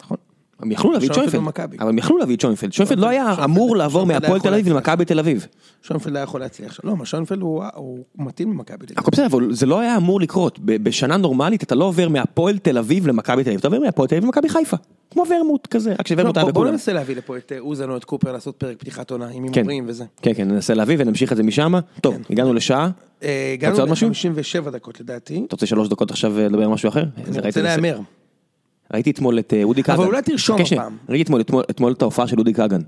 A: נכון.
B: הם יכלו להביא את
A: שוינפלד
B: שוינפלד,
A: במכבי.
B: אבל הם יכלו להביא את שוינפלד. שוינפלד לא היה
A: שוינפלד-
B: אמור לעבור
A: שוינפלד היה
B: מהפועל תל
A: יכול
B: אביב למכבי תל אביב.
A: שוינפלד היה יכול להצליח שם. לא, אבל שוינפלד הוא- הוא מתאים למכבי. לדעתי.
B: הכל בסדר, אבל זה לא היה אמור לקרות. ב- בשנה נורמלית אתה לא עובר מהפועל תל אביב למכבי תל אביב, אתה עובר מהפועל תל אביב למכבי חיפה. כמו ורמוט כזה, רק
A: לא,
B: שוורמוט היה
A: בוא- בוא
B: בכולם.
A: ננסה להביא לפה את אה, אוזן או את קופר לעשות פרק פתיחת עונה עם
B: כן,
A: הימורים וזה.
B: כן, כן, ננסה להביא ונמשיך את זה משם. טוב,
A: כן.
B: הגענו לשעה.
A: אה,
B: רוצה
A: הגענו
B: עוד משהו?
A: ל-57 דקות לדעתי.
B: אתה רוצה שלוש דקות עכשיו אה, לדבר על משהו אחר? איזה
A: אני
B: ראית
A: רוצה
B: את זה?
A: להמר.
B: ראיתי אתמול את אה, אודי
A: אבל
B: כגן.
A: אולי תרשום
B: חכה שנייה.
A: הפעם.
B: ראיתי אתמול- אתמול- אתמול את ההופעה של אודי כגן.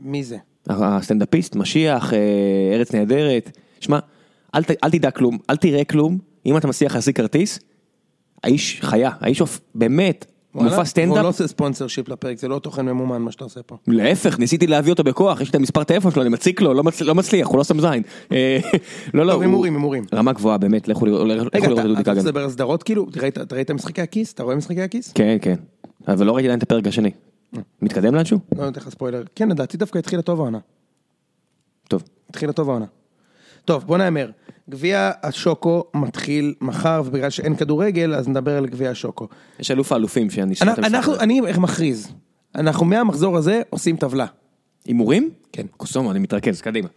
A: מי זה?
B: הסטנדאפיסט, משיח, אה, ארץ נהדרת. שמע, אל, ת- אל תדע כלום, אל תראה כלום, אם אתה מצליח להשיג כרטיס, האיש חיה, האיש אוף, באמת, מופע
A: וואלה, והוא לא
B: סטנדאפ, לא,
A: עושה ספונסר שיפ לפרק, זה לא תוכן ממומן מה שאתה עושה פה.
B: להפך, ניסיתי להביא אותו בכוח, יש לי את המספר טלפון שלו, אני מציק לו, לא, מצ... לא מצליח, הוא לא שם זין. אה, (laughs) לא, לא,
A: טוב,
B: הוא-
A: הימורים, הימורים.
B: רמה גבוהה, באמת, לכו לראות לכו
A: רגע,
B: לראות את
A: אתה
B: אודי
A: אתה רוצה
B: כגן.
A: לדבר על סדרות כאילו? אתה ראית- אתה ראית משחקי הכיס? אתה רואה משחקי הכיס?
B: כן, כן, אבל לא ראיתי עדיין את הפרק השני.
A: אה.
B: מתקדם לאנשהו?
A: לא נותן לך ספוילר. כן, לדעתי דווקא התחילה טוב העונה.
B: טוב.
A: התחילה טוב העונה. טוב, בוא נהמר. גביע השוקו מתחיל מחר, ובגלל שאין כדורגל, אז נדבר על גביע השוקו.
B: יש אלוף האלופים שאני שונא את המשחק
A: אנחנו,
B: הזה.
A: אני מכריז, אנחנו מהמחזור הזה עושים טבלה.
B: הימורים?
A: כן.
B: קוסומו, אני מתרכז, קדימה.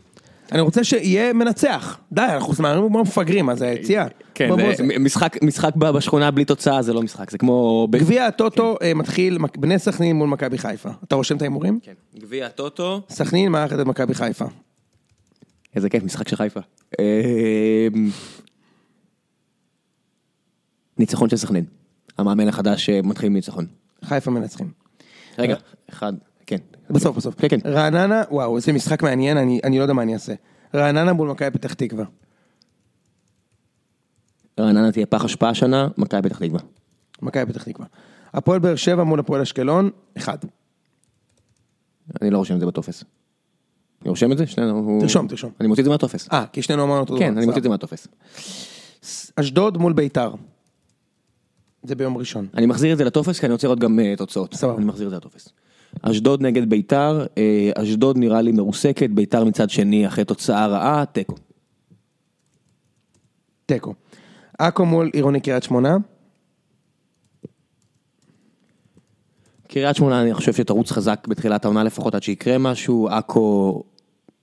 A: אני רוצה שיהיה מנצח. די, אנחנו מהמרים כמו מפגרים, אז היציאה.
B: כן,
A: בוא, בוא,
B: זה משחק, משחק ב- בשכונה בלי תוצאה זה לא משחק, זה כמו... ב-
A: גביע הטוטו אה, מתחיל מק- בני סכנין מול מכבי חיפה. אתה רושם את ההימורים?
B: כן. גביע הטוטו.
A: סכנין מארחת את מכבי חיפה.
B: איזה כיף, משחק של חיפה. אמ, ניצחון של סכנין. המאמן החדש אה, מתחיל מניצחון.
A: חיפה מנצחים.
B: רגע,
A: אה.
B: אחד, כן.
A: בסוף בסוף.
B: כן, כן.
A: רעננה, וואו, איזה משחק מעניין, אני, אני לא יודע מה אני אעשה. רעננה מול מכבי פתח תקווה.
B: רעננה תהיה פח השפעה השנה, מכבי פתח תקווה.
A: מכבי פתח תקווה. הפועל באר שבע מול הפועל אשקלון, אחד.
B: אני לא רושם את זה בטופס. אני רושם את זה? שנינו...
A: תרשום, תרשום.
B: אני מוציא את זה מהטופס.
A: אה, כי שנינו אמרנו אותו
B: כן,
A: דבר,
B: אני מוציא
A: סבבה.
B: את זה מהטופס.
A: אשדוד מול ביתר. זה ביום ראשון.
B: אני מחזיר את זה לטופס כי אני רוצה לראות גם אה, תוצאות.
A: סבבה.
B: אני מחזיר את זה לטופס. אשדוד נגד ביתר, אה, אשדוד נראה לי מרוסקת, ביתר מצד שני אחרי תוצאה רעה, תיקו.
A: תיקו. עכו מול עירוני קריית שמונה.
B: קריית שמונה אני חושב שתרוץ חזק בתחילת העונה לפחות עד שיקרה משהו, עכו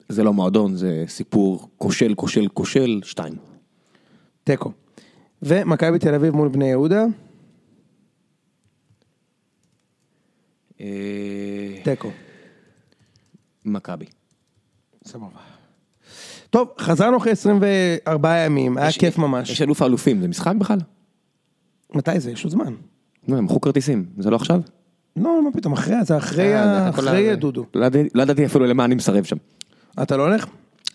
B: זה לא מועדון, זה סיפור כושל, כושל, כושל, שתיים.
A: תיקו. ומכבי תל אביב מול בני יהודה.
B: אה,
A: תיקו.
B: מכבי.
A: סבבה. טוב, חזרנו אחרי 24 ימים, היה כיף ממש.
B: יש אלוף האלופים, זה משחק בכלל?
A: מתי זה? יש עוד זמן.
B: לא, הם מכרו כרטיסים, זה לא עכשיו?
A: לא, מה פתאום, אחרי זה, אחרי
B: אה,
A: ה-
B: הכל
A: אחרי
B: ה-
A: הדודו.
B: לא ידעתי- לא ידעתי אפילו למה אני מסרב שם.
A: אתה לא הולך?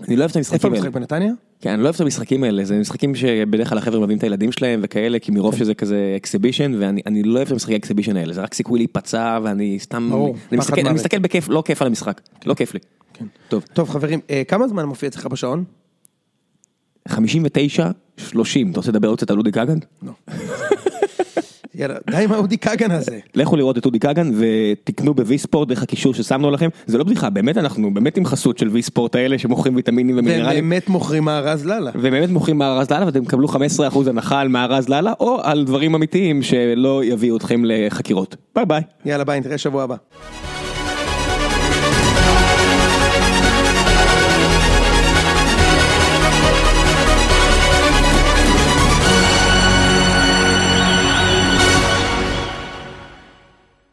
B: אני לא אוהב
A: איפה
B: את המשחקים האלה.
A: המשחק בנתניה?
B: כן, אני לא אוהב את המשחקים האלה, זה משחקים שבדרך כלל החבר'ה מביאים את הילדים שלהם וכאלה, כי
A: כן.
B: מרוב שזה כזה אקסיבישן, ואני אני לא אוהב את המשחקי האקסיבישן האלה, זה רק סיכוי להיפצע, ואני סתם,
A: ברור, פחד כן.
B: אני מסתכל, אני
A: מוות.
B: מסתכל בכיף, לא כיף על המשחק, לא כיף לי. טוב,
A: טוב חברים, אה, כמה זמן מופיע אצלך בשעון?
B: 59, 30, אתה רוצה לדבר עוד קצת על אודי כגן?
A: יאללה, די עם האודי כגן (laughs) הזה.
B: לכו לראות את אודי כגן ותקנו בווי ספורט דרך הקישור ששמנו לכם, זה לא בדיחה, באמת אנחנו באמת עם חסות של ווי ספורט האלה שמוכרים ויטמינים
A: והם אה,
B: ומינרלים.
A: באמת מוכרים מארז ללה.
B: ובאמת מוכרים מארז לאללה ואתם תקבלו 15% הנחה על מארז לאללה או על דברים אמיתיים שלא יביאו אתכם לחקירות. ביי ביי.
A: יאללה ביי, נתראה שבוע הבא.